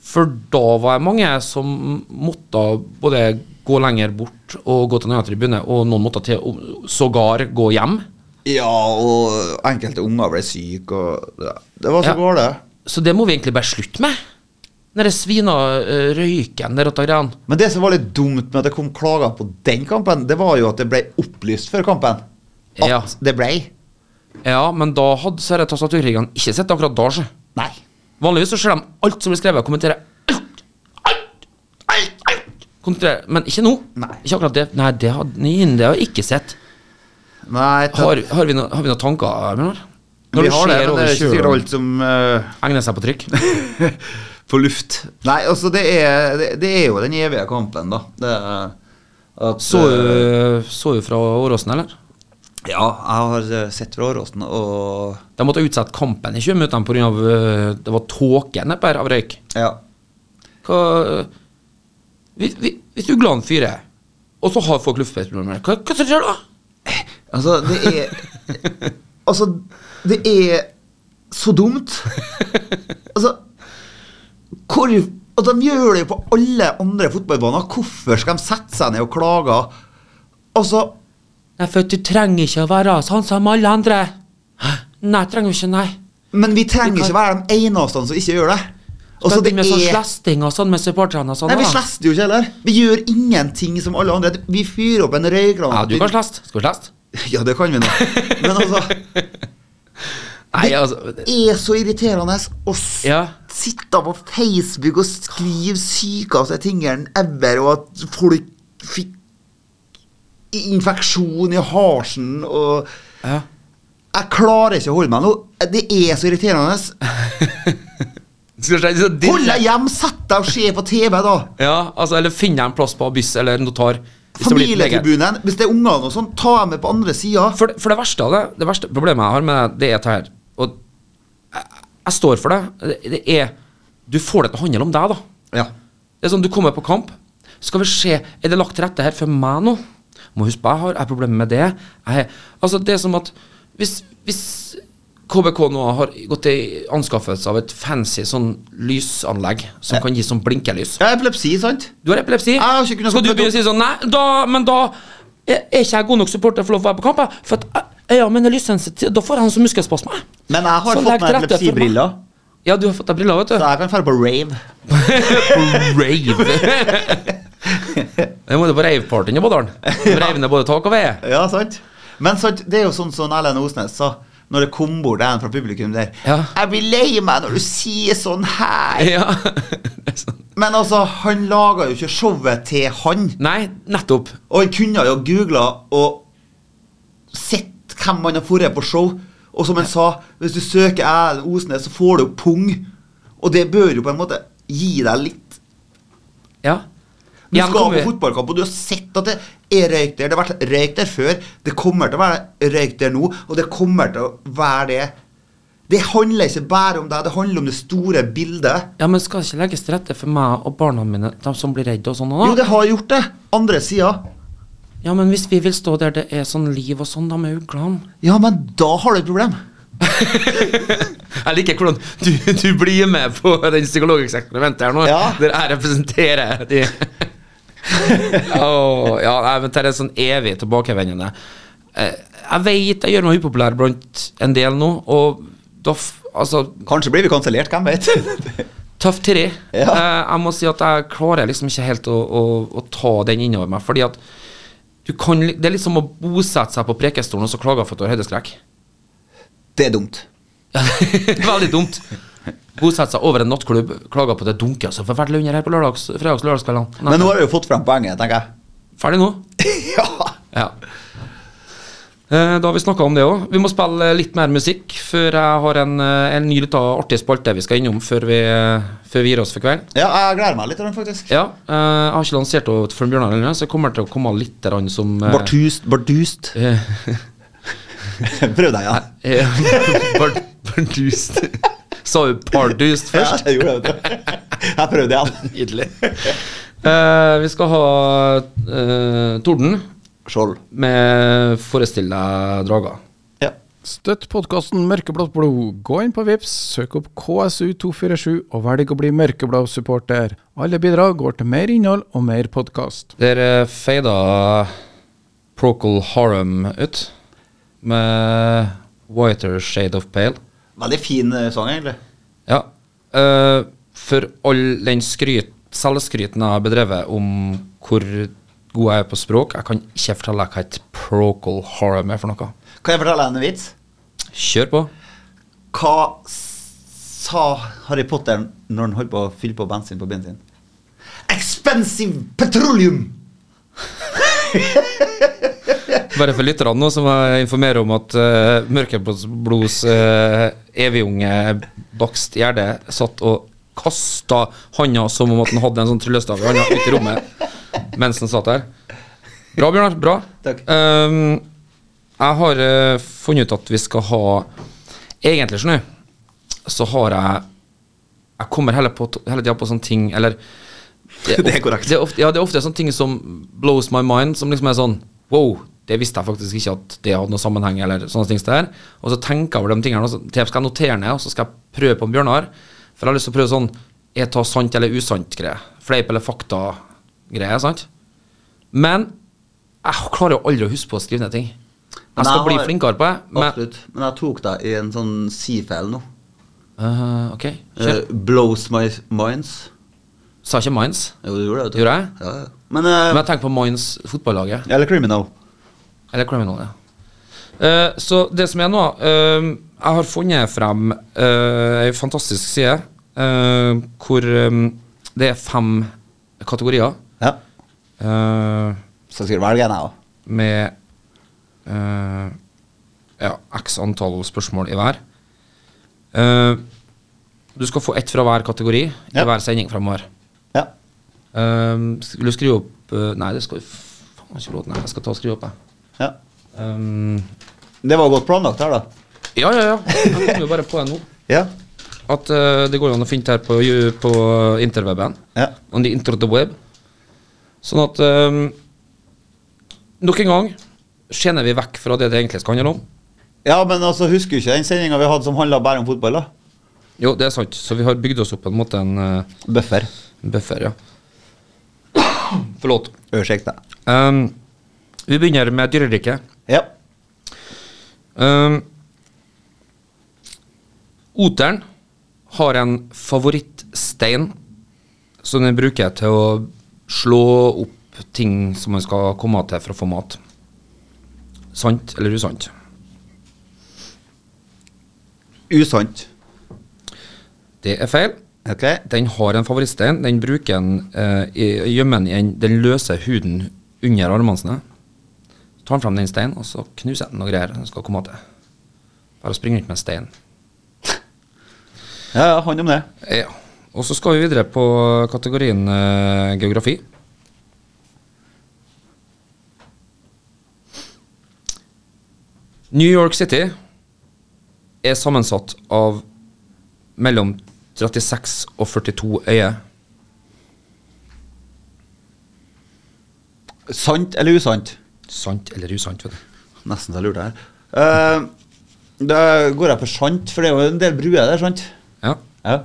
[SPEAKER 4] for da var det mange som måtte både gå lenger bort og gå til en annen tribune, og noen måtte til og sågar gå hjem.
[SPEAKER 2] Ja, og enkelte unger ble syke, og ja. Det var så
[SPEAKER 4] Ja.
[SPEAKER 2] galt, det.
[SPEAKER 4] Så det må vi egentlig bare slutte med. Den der svina eh, røyken der og de greiene.
[SPEAKER 2] Men det som var litt dumt med at det kom klager på den kampen, det var jo at det ble opplyst før kampen. At
[SPEAKER 4] Ja.
[SPEAKER 2] det ble.
[SPEAKER 4] Ja, men da hadde disse tastaturkrigene ikke sett akkurat da, sjø.
[SPEAKER 2] Nei.
[SPEAKER 4] Vanligvis så ser de alt som blir skrevet, og kommenterer alt, alt, alt, alt. Kommenterer, men ikke nå.
[SPEAKER 2] Nei.
[SPEAKER 4] Ikke akkurat det. Nei, det har, nei, det har jeg ikke sett.
[SPEAKER 2] Nei, ta-
[SPEAKER 4] Har, har, vi, no, har vi noen tanker, Bjørnar? Når
[SPEAKER 2] vi
[SPEAKER 4] det
[SPEAKER 2] har det,
[SPEAKER 4] skjer
[SPEAKER 2] men det
[SPEAKER 4] over
[SPEAKER 2] er ikke sikkert
[SPEAKER 4] kjølen,
[SPEAKER 2] alt som eh,
[SPEAKER 4] egner seg på trykk.
[SPEAKER 2] på luft. Nei, altså det er, det, det er jo den evige kampen, da. Det er at,
[SPEAKER 4] Så
[SPEAKER 2] eh,
[SPEAKER 4] du- Så du fra Åråsen, eller?
[SPEAKER 2] Ja, jeg har eh, sett fra Åråsen, og
[SPEAKER 4] De måtte utsette kampen i 20 minutter pga. eh, det var tåke nedpå her av røyk.
[SPEAKER 2] ja.
[SPEAKER 4] Hva Hvis, hvis- hvis uglan fyrer, og så har folk luftveisproblemer, hva, hva som skjer da?
[SPEAKER 2] Altså, det er Altså, det er så dumt. Altså, hvor Og de gjør det jo på alle andre fotballbaner. Hvorfor skal de sette seg ned og klage? Altså,
[SPEAKER 4] Nei, for du trenger ikke å være sånn som alle andre. Hæ? Nei, trenger du ikke, nei.
[SPEAKER 2] men vi trenger
[SPEAKER 4] Vi kan-
[SPEAKER 2] ikke være de eneste som ikke gjør det. Og så
[SPEAKER 4] Skal
[SPEAKER 2] det
[SPEAKER 4] det med sånn
[SPEAKER 2] er
[SPEAKER 4] slasting og sånn med supporterne og sånn.
[SPEAKER 2] Nei, vi
[SPEAKER 4] da?
[SPEAKER 2] slester jo ikke heller. Vi gjør ingenting som alle andre. Vi fyrer opp en røykgran.
[SPEAKER 4] Ja, du kan slaste. Skal vi slaste?
[SPEAKER 2] Ja, det kan vi nå. Men altså
[SPEAKER 4] Nei, altså
[SPEAKER 2] Det er så irriterende å s-
[SPEAKER 4] Ja.
[SPEAKER 2] sitte på Facebook og skrive syke av seg tingene ever, og at folk fikk infeksjon i harsen og
[SPEAKER 4] Ja.
[SPEAKER 2] Jeg klarer ikke å holde meg nå. Det er så irriterende.
[SPEAKER 4] Skal vi slaste? Så
[SPEAKER 2] Hold deg
[SPEAKER 4] dirre-
[SPEAKER 2] hjem, sett deg og se på TV, da.
[SPEAKER 4] Ja, altså, eller finn deg en plass på buss eller notar. hvis det blir litt lenger.
[SPEAKER 2] Familietribunen. Hvis det er unger og noe sånt, ta dem med på andre sida.
[SPEAKER 4] For, det- for det verste av det, det verste problemet jeg har med det, det er dette her. Og jeg, jeg står for det. det. Det er Du får det til å handle om deg, da.
[SPEAKER 2] Ja.
[SPEAKER 4] Det er sånn, Du kommer på kamp. Skal vi se Er det lagt til rette her for meg nå? Må huske på, jeg har jeg har problemer med det. Jeg, altså, det er som at hvis, hvis KBK nå har gått til anskaffelse av et fancy sånn lysanlegg som kan gi sånn blinkelys
[SPEAKER 2] Jeg har epilepsi, sant?
[SPEAKER 4] Du har epilepsi.
[SPEAKER 2] Jeg har ikke kunnet
[SPEAKER 4] Skal du
[SPEAKER 2] stoppe
[SPEAKER 4] begynne å si sånn Nei, da, men da er er ikke jeg god nok supporter for å få være på kamp. jeg, For at jeg- ja, men jeg er lyssensitiv. Da får jeg en sånn muskelspasme.
[SPEAKER 2] Men jeg har
[SPEAKER 4] Så legg
[SPEAKER 2] fått meg
[SPEAKER 4] til rette for meg.
[SPEAKER 2] epilepsibriller,
[SPEAKER 4] Ja, du har fått deg briller, vet du.
[SPEAKER 2] så jeg kan dra på rave.
[SPEAKER 4] Rave. Det må du på rave-party i Bådalen. Rave ned både tak og ved.
[SPEAKER 2] Ja, sant? Men sant, det er jo sånn som Erlend Osnes sa når det kom bort en fra publikum der.
[SPEAKER 4] Ja.
[SPEAKER 2] Jeg blir lei meg når du sier sånn her!
[SPEAKER 4] Ja. Det er sånn.
[SPEAKER 2] Men altså, han laga jo ikke showet til han.
[SPEAKER 4] Nei, nettopp.
[SPEAKER 2] Og han kunne jo googla og sett hvem han har vært på show. Og som han sa, hvis du søker Erlend Osnes, så får du jo pung. Og det bør jo på en måte gi deg litt.
[SPEAKER 4] Ja.
[SPEAKER 2] Du
[SPEAKER 4] Igjen
[SPEAKER 2] skal
[SPEAKER 4] kommer
[SPEAKER 2] på
[SPEAKER 4] vi-
[SPEAKER 2] fotballkamp, og du har sett at det er røyk der. Det har vært røyk der før, det kommer til å være røyk der nå, og det kommer til å være det. Det handler ikke bare om deg, det handler om det store bildet.
[SPEAKER 4] Ja, men skal det ikke legges til rette for meg og barna mine, de som blir redde og sånn? og da?
[SPEAKER 2] Jo, det har gjort det. Andre sida.
[SPEAKER 4] Ja, men hvis vi vil stå der det er sånn liv og sånn, da med uglene
[SPEAKER 2] Ja, men da har du et problem.
[SPEAKER 4] Jeg liker hvordan du, du blir med på den psykologieksperimentet her nå,
[SPEAKER 2] Ja.
[SPEAKER 4] der jeg representerer de Åh, Ja, nei, men det er sånn evig tilbakevendende. Eh, Jeg vet jeg gjør meg upopulær blant en del nå, og da f- Altså,
[SPEAKER 2] Kanskje blir vi kansellert, hvem vet?
[SPEAKER 4] tøff tiri.
[SPEAKER 2] Ja.
[SPEAKER 4] Eh, Jeg må si at jeg klarer liksom ikke helt å, å, å ta den innover meg, fordi at du kan, li- det er litt som å bosette seg på Prekestolen og så klage for at du har høydeskrekk.
[SPEAKER 2] det er dumt.
[SPEAKER 4] Veldig dumt. Bosette seg over en nattklubb, klager på at det altså, dunker så forferdelig under her på lørdags, fredags lørdagskveldene.
[SPEAKER 2] Men nå har du jo fått frem poenget, tenker jeg.
[SPEAKER 4] Ferdig nå?
[SPEAKER 2] ja.
[SPEAKER 4] Ja. Eh, Da har vi snakka om det òg. Vi må spille eh, litt mer musikk før jeg har en, eh, en ny lita artig spalte vi skal innom før vi, eh, før vi gir oss for kvelden.
[SPEAKER 2] ja, jeg gleder meg litt til den, faktisk.
[SPEAKER 4] Ja, eh, jeg har ikke lansert henne for Bjørnar ennå, så jeg kommer til å komme litt grann som eh,
[SPEAKER 2] Bartust, bardust.
[SPEAKER 4] eh,
[SPEAKER 2] Prøv deg, ja.
[SPEAKER 4] eh, Bart- Bardust. Sa hun pardust
[SPEAKER 2] ja.
[SPEAKER 4] først?
[SPEAKER 2] Jeg gjorde det, vet du. Jeg prøvde igjen.
[SPEAKER 4] Nydelig. Eh, vi skal ha eh, Torden
[SPEAKER 2] Skjold.
[SPEAKER 4] med Forestill deg drager.
[SPEAKER 2] Ja.
[SPEAKER 5] Støtt podkasten Mørkeblått blod. Gå inn på Vips, søk opp KSU247 og velg å bli mørkeblå-supporter. Alle bidrag går til mer innhold og mer podkast.
[SPEAKER 4] Der eh, feida Procol Harum ut med Whiter Shade of Pale.
[SPEAKER 2] Veldig fin eh, sang, egentlig.
[SPEAKER 4] Ja. eh, for all den skryt, selvskryten jeg har bedrevet om hvor god jeg er på språk, jeg kan ikke fortelle deg hva et Procol Harum er for noe.
[SPEAKER 2] Kan jeg fortelle deg en vits?
[SPEAKER 4] Kjør på.
[SPEAKER 2] Hva s- sa Harry Potter når han holdt på å fylle på bensin på bilen sin? Expensive petroleum!
[SPEAKER 4] Bare for lytterne nå, så må jeg informere om at uh, Mørkeblods eh, evigunge Bakst Gjerde satt og kasta handa som om at han hadde en sånn tryllestav i handa ut i rommet mens han satt der. Bra, Bjørnar. Bra.
[SPEAKER 2] Takk.
[SPEAKER 4] Ehm, jeg har eh, funnet ut at vi skal ha Egentlig, skjønner du, så har jeg Jeg kommer heller på t- hele tida på sånne ting, eller
[SPEAKER 2] Det er korrekt.
[SPEAKER 4] det er ofte, ja, det er ofte sånne ting som blows my mind, som liksom er sånn Wow, det visste jeg faktisk ikke at det hadde noe sammenheng, eller sånne ting. som det her. Og så tenker jeg over de tingene, og så til jeg skal notere ned, og så skal jeg prøve på en Bjørnar. For jeg har lyst til å prøve sånn er ta sant eller usant-greie. Fleip eller fakta-greie, sant? Men jeg klarer jo aldri å huske på å skrive ned ting. Jeg skal bli flinkere på det. Men,
[SPEAKER 2] Absolutt. Men jeg tok deg i en sånn C-fell nå.
[SPEAKER 4] Eh, ok, kjør.
[SPEAKER 2] Eh, blows my minds.
[SPEAKER 4] Sa ikke Minds.
[SPEAKER 2] Jo, du gjorde det. vet du.
[SPEAKER 4] Gjorde jeg?
[SPEAKER 2] Ja, ja. Men, eh,
[SPEAKER 4] Men jeg tenker på Minds fotballaget.
[SPEAKER 2] Eller criminal.
[SPEAKER 4] Eller criminal, ja. Eh, så det som er nå eh, Jeg har funnet frem eh, ei fantastisk side eh, hvor eh, det er fem kategorier
[SPEAKER 2] Ja.
[SPEAKER 4] eh,
[SPEAKER 2] Så skal du velge en, jeg òg.
[SPEAKER 4] med eh, ja, x antall spørsmål i hver. Eh, du skal få ett fra hver kategori
[SPEAKER 2] Ja.
[SPEAKER 4] i hver sending framover.
[SPEAKER 2] Ja.
[SPEAKER 4] Eh, skal du skrive opp eh, Nei, det skal vi faen ikke lov til. Nei, Jeg skal ta og skrive opp, jeg.
[SPEAKER 2] ja.
[SPEAKER 4] Um,
[SPEAKER 2] Det var godt planlagt her, da.
[SPEAKER 4] Ja, ja, ja. Jeg kom jo bare på det nå.
[SPEAKER 2] Ja.
[SPEAKER 4] At eh, det går an å finne det her på, ju- på interweben.
[SPEAKER 2] Ja.
[SPEAKER 4] On the inter the web. Sånn at eh, Nok en gang skjener vi vekk fra det det egentlig skal handle om.
[SPEAKER 2] ja, men altså, husker du ikke den sendinga vi hadde som handla bare om fotball? da?
[SPEAKER 4] Jo, det er sant. Så vi har bygd oss opp på en måte en eh,
[SPEAKER 2] Bøffer.
[SPEAKER 4] buffer, ja. Forlåt.
[SPEAKER 2] Unnskyld.
[SPEAKER 4] Um, vi begynner med dyreriket.
[SPEAKER 2] Ja.
[SPEAKER 4] Um, Oteren har en favorittstein som den bruker til å slå opp ting som man skal komme til for å få mat. Sant eller usant?
[SPEAKER 2] Usant.
[SPEAKER 4] Det er feil.
[SPEAKER 2] Ok.
[SPEAKER 4] Den har en favorittstein. Den bruker den eh, i- gjemmer den i en- den løse huden under armene sine. Tar den frem den steinen, og så knuser den og greier. Den skal komme til. Bare springer rundt med en stein.
[SPEAKER 2] Ja, ja, hånd om det.
[SPEAKER 4] Ja. Og så skal vi videre på kategorien eh, geografi. New York City er sammensatt av mellom 36 og 42 øyer.
[SPEAKER 2] Sant eller usant?
[SPEAKER 4] Sant eller usant? vet du.
[SPEAKER 2] Nesten så jeg lurte her. Eh, da går jeg for sant, for det er jo en del bruer der, sant?
[SPEAKER 4] Ja,
[SPEAKER 2] Ja.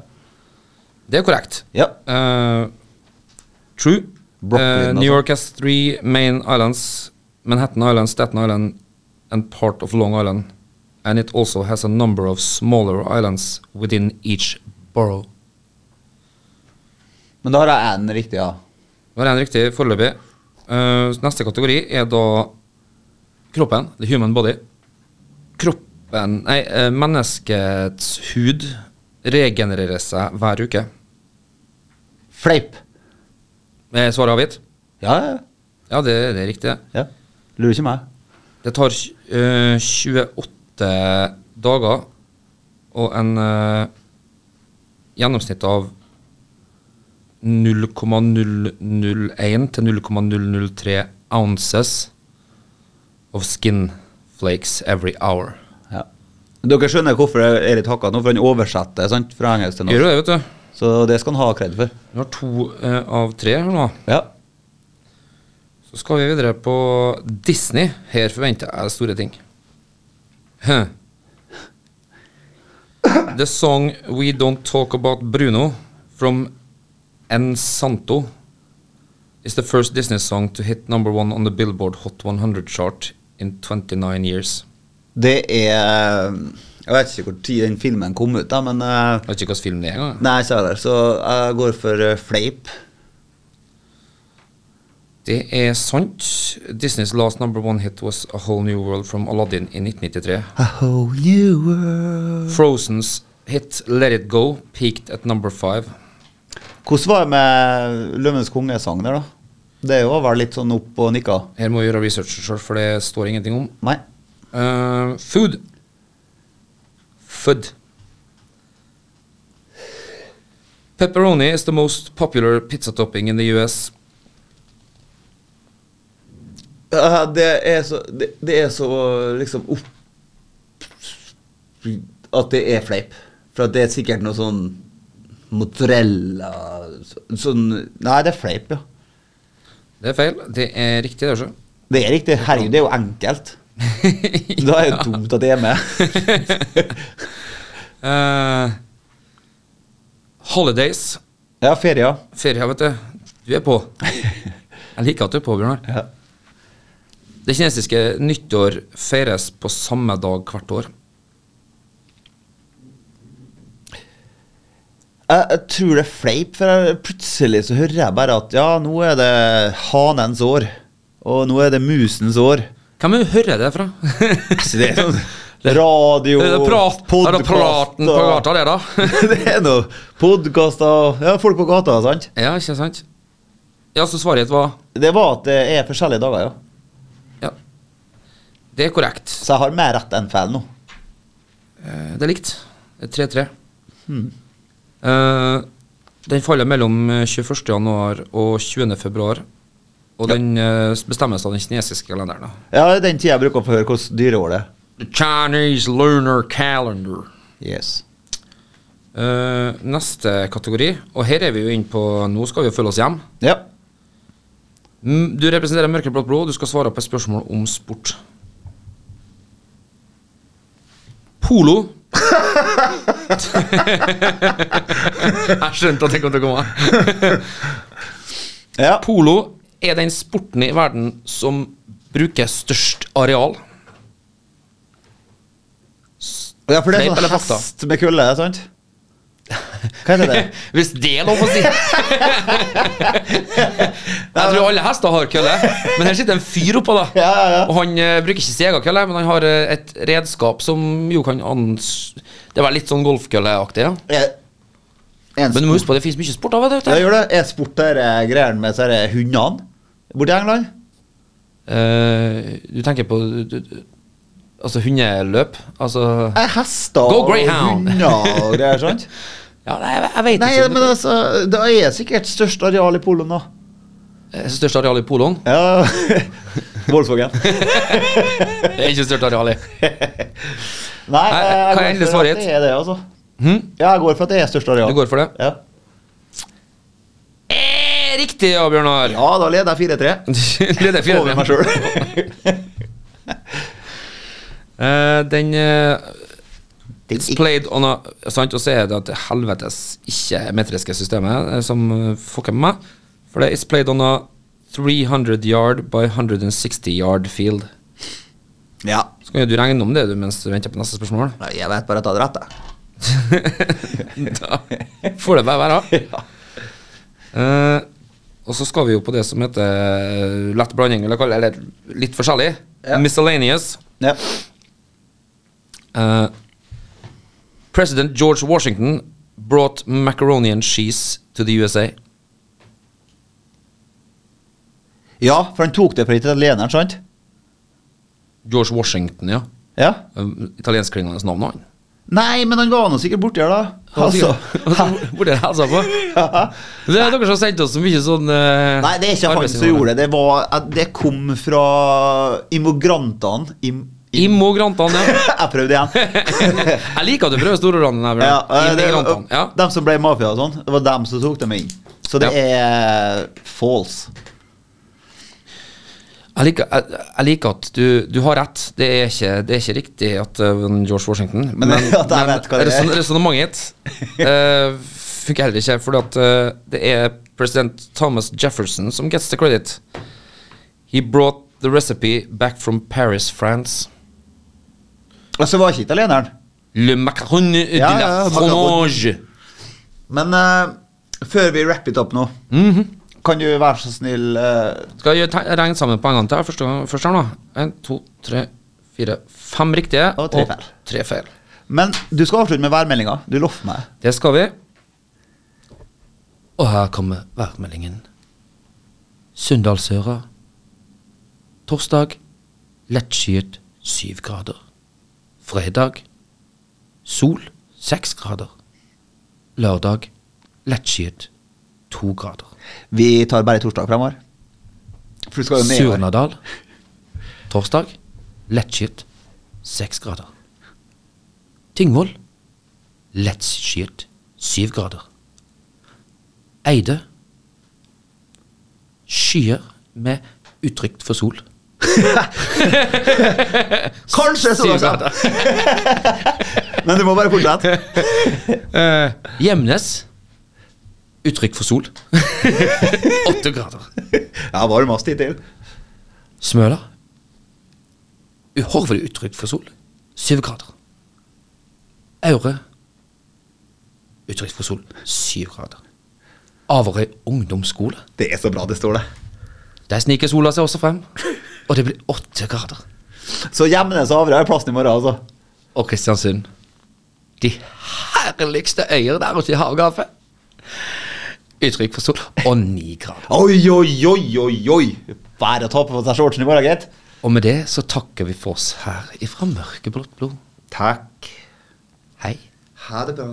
[SPEAKER 4] det er korrekt.
[SPEAKER 2] ja.
[SPEAKER 4] Eh, true.
[SPEAKER 2] Brooklyn,
[SPEAKER 4] Eh, New York has three main islands Manhattan Island, Staten Island and part of Long Island. And it also has a number of smaller islands within each borough.
[SPEAKER 2] Men da har jeg én riktig, ja.
[SPEAKER 4] Det er en riktig foreløpig. Eh, neste kategori er da kroppen, the human body. Kroppen Nei, eh, menneskets hud regenererer seg hver uke.
[SPEAKER 2] Fleip.
[SPEAKER 4] Er svaret avgitt?
[SPEAKER 2] Ja, ja,
[SPEAKER 4] Ja, det, det er riktig. det.
[SPEAKER 2] ja. Lurer ikke meg.
[SPEAKER 4] Det tar eh, 28 dager og en eh, gjennomsnitt av 0,001 til 0,003 ounces of skin flakes every hour.
[SPEAKER 2] Ja. Dere skjønner hvorfor det er litt hakka nå, for han oversetter sant, fra engelsk til
[SPEAKER 4] Gjør
[SPEAKER 2] norsk.
[SPEAKER 4] du det, vet du?
[SPEAKER 2] Så det skal han ha kred for.
[SPEAKER 4] Du har to eh, av tre her nå.
[SPEAKER 2] Ja.
[SPEAKER 4] Så skal vi videre på Disney. Her forventer jeg store ting. Huh. The song We Don't Talk About Bruno from En Santo is the first Disney song to hit number one on the Billboard Hot 100 chart in 29 years.
[SPEAKER 2] Det er Jeg vet ikke hvor tid den filmen kom ut, da, men eh,
[SPEAKER 4] Jeg vet ikke hvilken film det er engang.
[SPEAKER 2] Nei, så er det. Så jeg går for eh, fleip.
[SPEAKER 4] Det er sant. Disneys last number one hit was A Whole New World from Aladdin i 1993.
[SPEAKER 2] A whole new world.
[SPEAKER 4] Frozen's hit Let It Go peaked at number five.
[SPEAKER 2] Hvordan var det med Løvenes konge-sang der, da? Det var vel litt sånn opp og nikka?
[SPEAKER 4] Her må vi gjøre researchen sjøl, for det står ingenting om.
[SPEAKER 2] Nei.
[SPEAKER 4] Eh, food. Food. Pepperoni is the most popular pizza topping in the US.
[SPEAKER 2] Eh, det er så Det, det er så liksom opp At det er fleip. For at det er sikkert noe sånn mozzarella så- Sånn Nei, det er fleip, ja.
[SPEAKER 4] Det er feil. Det er riktig, det, altså. sjø.
[SPEAKER 2] Det er riktig. Herregud, det er jo enkelt. Da er det jo dumt at det er med.
[SPEAKER 4] Eh, holidays
[SPEAKER 2] Ja, ferie, ja.
[SPEAKER 4] Ferie, vet du. Du er på. Jeg liker at du er på, Bjørnar.
[SPEAKER 2] Ja.
[SPEAKER 4] Det kinesiske nyttår feires på samme dag hvert år.
[SPEAKER 2] Jeg, jeg tror det er fleip, for jeg, plutselig så hører jeg bare at ja, nå er det hanens år. Og nå er det musens år.
[SPEAKER 4] Hvem er det du hører det fra?
[SPEAKER 2] Så det er sånn radio,
[SPEAKER 4] Det er prat, er det
[SPEAKER 2] podcast,
[SPEAKER 4] praten på
[SPEAKER 2] og-
[SPEAKER 4] gata, det, da?
[SPEAKER 2] det er noe podkaster Ja, folk på gata, sant?
[SPEAKER 4] Ja, ikke sant? Ja, så svaret var
[SPEAKER 2] Det var at det er forskjellige dager, ja.
[SPEAKER 4] Ja. Det er korrekt.
[SPEAKER 2] Så jeg har mer rett enn feil nå.
[SPEAKER 4] Eh, Det er likt. Det er 3-3. Hmm. Eh, den faller mellom eh, 21. januar og 20. februar. Og den eh, bestemmes av den kinesiske kalenderen. da.
[SPEAKER 2] Ja, det er den tida jeg bruker å få høre hvordan dyreår det er.
[SPEAKER 4] The Chinese lunar calendar.
[SPEAKER 2] Yes.
[SPEAKER 4] Eh, neste kategori, og her er vi jo inne på Nå skal vi jo følge oss hjem.
[SPEAKER 2] Ja.
[SPEAKER 4] Mm, Du representerer mørkeblått blod, og du skal svare på et spørsmål om sport. Polo. Jeg skjønte at det kom til å komme.
[SPEAKER 2] ja.
[SPEAKER 4] Polo er den sporten i verden som bruker størst areal.
[SPEAKER 2] Ja, for det er
[SPEAKER 4] Fleip eller
[SPEAKER 2] sånn
[SPEAKER 4] fakta?
[SPEAKER 2] hest med kulle, sant? Hva heter det?
[SPEAKER 4] Hvis det er lov å si! Jeg tror alle hester har kølle, men her sitter en fyr oppå, da.
[SPEAKER 2] Ja, ja, ja.
[SPEAKER 4] Og han eh, bruker ikke sin egen kølle, men han har eh, et redskap som jo kan ans... Det er vel litt sånn golfkølleaktig, ja.
[SPEAKER 2] Er- er en
[SPEAKER 4] Men du må
[SPEAKER 2] sport-
[SPEAKER 4] huske på at det finnes mye sport av det. vet
[SPEAKER 2] Ja,
[SPEAKER 4] du.
[SPEAKER 2] gjør det. Er sport der eh, greiene med disse her hundene borti England?
[SPEAKER 4] Eh, du tenker på du, du, Altså hundeløp? Altså
[SPEAKER 2] Er hester
[SPEAKER 4] Go
[SPEAKER 2] og
[SPEAKER 4] greyhound!
[SPEAKER 2] hunder og greier, sant?
[SPEAKER 4] Ja, nei, jeg, jeg vet
[SPEAKER 2] Nei,
[SPEAKER 4] ikke.
[SPEAKER 2] men altså, det er sikkert størst areal i poloen, da.
[SPEAKER 4] Eh, Største areal i poloen?
[SPEAKER 2] Ja. Voldsvågen.
[SPEAKER 4] Det er ikke største areal i
[SPEAKER 2] Nei, eh,
[SPEAKER 4] Nei, kan
[SPEAKER 2] jeg,
[SPEAKER 4] jeg
[SPEAKER 2] går
[SPEAKER 4] endelig
[SPEAKER 2] for
[SPEAKER 4] svare
[SPEAKER 2] at
[SPEAKER 4] et?
[SPEAKER 2] det er det, altså.
[SPEAKER 4] Hm?
[SPEAKER 2] Ja, jeg går for at det er størst areal.
[SPEAKER 4] Du går for det?
[SPEAKER 2] Ja,
[SPEAKER 4] Eh, riktig, ja, Bjørnar!
[SPEAKER 2] ja da leder jeg 4-3.
[SPEAKER 4] Leder fire-
[SPEAKER 2] Over meg sjøl.
[SPEAKER 4] Eh, den eh, It's played on a sant, Og så er det at helvetes ikke-metriske systemet eh, som eh, fucker med meg. For det er It's played on a 300 yard by 160 yard field.
[SPEAKER 2] Ja.
[SPEAKER 4] Så kan jo du regne om det du mens du venter på neste spørsmål.
[SPEAKER 2] Nei, jeg vet bare at jeg hadde rett, jeg.
[SPEAKER 4] da får det bare være. Eh, og så skal vi jo på det som heter eh, lett blanding, eller, kall- eller litt forskjellig.
[SPEAKER 2] Ja.
[SPEAKER 4] Miscellaneous.
[SPEAKER 2] Ja.
[SPEAKER 4] Uh, President George Washington brought macaroni and cheese to the USA.
[SPEAKER 2] ja, for han tok det fra italieneren, sant?
[SPEAKER 4] George Washington, ja.
[SPEAKER 2] Ja.
[SPEAKER 4] Um, Italienskklingende navn, han.
[SPEAKER 2] Nei, men han var nå sikkert borti her, da. Altså.
[SPEAKER 4] Hvor det helsa på? Det er dere som har sendt oss så mye sånn eh,
[SPEAKER 2] Nei, det er ikke han som gjorde det. Det, var, at det kom fra immigrantene. Im, im.
[SPEAKER 4] Immigrantene, ja.
[SPEAKER 2] Jeg prøvde igjen.
[SPEAKER 4] Jeg liker at du prøver storordene. her,
[SPEAKER 2] Ja,
[SPEAKER 4] Bjørn.
[SPEAKER 2] eh, det,
[SPEAKER 4] Immigrantene. Ja.
[SPEAKER 2] De som ble mafia og sånn, det var dem som tok dem inn. Så det
[SPEAKER 4] Ja.
[SPEAKER 2] er false.
[SPEAKER 4] Jeg liker, jeg, jeg liker at du, du har rett. Det er ikke, det er ikke riktig at uh, George Washington
[SPEAKER 2] Men at jeg vet hva det er.
[SPEAKER 4] resonnementet eh, funker heller ikke, fordi at eh, det er president Thomas Jefferson som gets the credit. He brought the recipe back from Paris, France.
[SPEAKER 2] Og så var ikke italieneren.
[SPEAKER 4] Le macaron de
[SPEAKER 2] Ja, ja,
[SPEAKER 4] la
[SPEAKER 2] ja,
[SPEAKER 4] fromage.
[SPEAKER 2] Men eh, før vi wrap it up nå,
[SPEAKER 4] Mhm.
[SPEAKER 2] kan du være så snill eh,
[SPEAKER 4] Skal jeg gjøre te- regne sammen poengene til her først, først her nå? En, to, tre, fire, fem riktige.
[SPEAKER 2] Og tre feil.
[SPEAKER 4] tre feil.
[SPEAKER 2] Men du skal avslutte med værmeldinga. Du lovte meg.
[SPEAKER 4] Det skal vi. Og her kommer værmeldingen. Sunndalsøra. Torsdag lettskyet syv grader. Fredag sol seks grader. Lørdag lettskyet to grader.
[SPEAKER 2] Vi tar bare torsdag fremover. For du skal jo ned. her.
[SPEAKER 4] Surnadal. Torsdag lettskyet seks grader. Tingvoll lettskyet syv grader. Eide skyer med utrygt for sol.
[SPEAKER 2] Kanskje så
[SPEAKER 4] Syv
[SPEAKER 2] langt. Men du må bare fortsette.
[SPEAKER 4] Gjemnes Uttrykk for sol. Åtte grader.
[SPEAKER 2] Ja, varmest hittil.
[SPEAKER 4] Smøla. Uhorvelig uttrykk for sol. Syv grader. Aure. Uttrykk for sol. Syv grader. Averøy ungdomsskole.
[SPEAKER 2] Det er så bra det står, det.
[SPEAKER 4] Der sniker sola seg også frem. Og det blir åtte grader.
[SPEAKER 2] Så Gjemnes og Averøy er plassen i morgen, altså.
[SPEAKER 4] Og Kristiansund. De herligste øyer der ute i havgapet. Uttrykk for sol. Og ni grader.
[SPEAKER 2] Oi, oi, oi, oi, oi! Bare å ta på seg shortsen i morgen, gitt.
[SPEAKER 4] Og med det så takker vi for oss her ifra mørkeblått blod.
[SPEAKER 2] Takk.
[SPEAKER 4] Hei.
[SPEAKER 2] Ha det bra.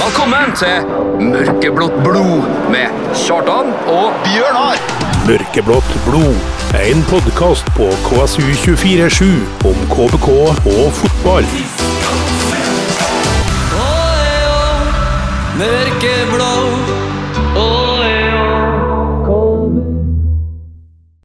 [SPEAKER 1] Velkommen til Mørkeblått blod med Kjartan og
[SPEAKER 2] Bjørnar!
[SPEAKER 3] Mørkeblått blod er en podkast på KSU247 om KBK og fotball.
[SPEAKER 6] Mørkeblå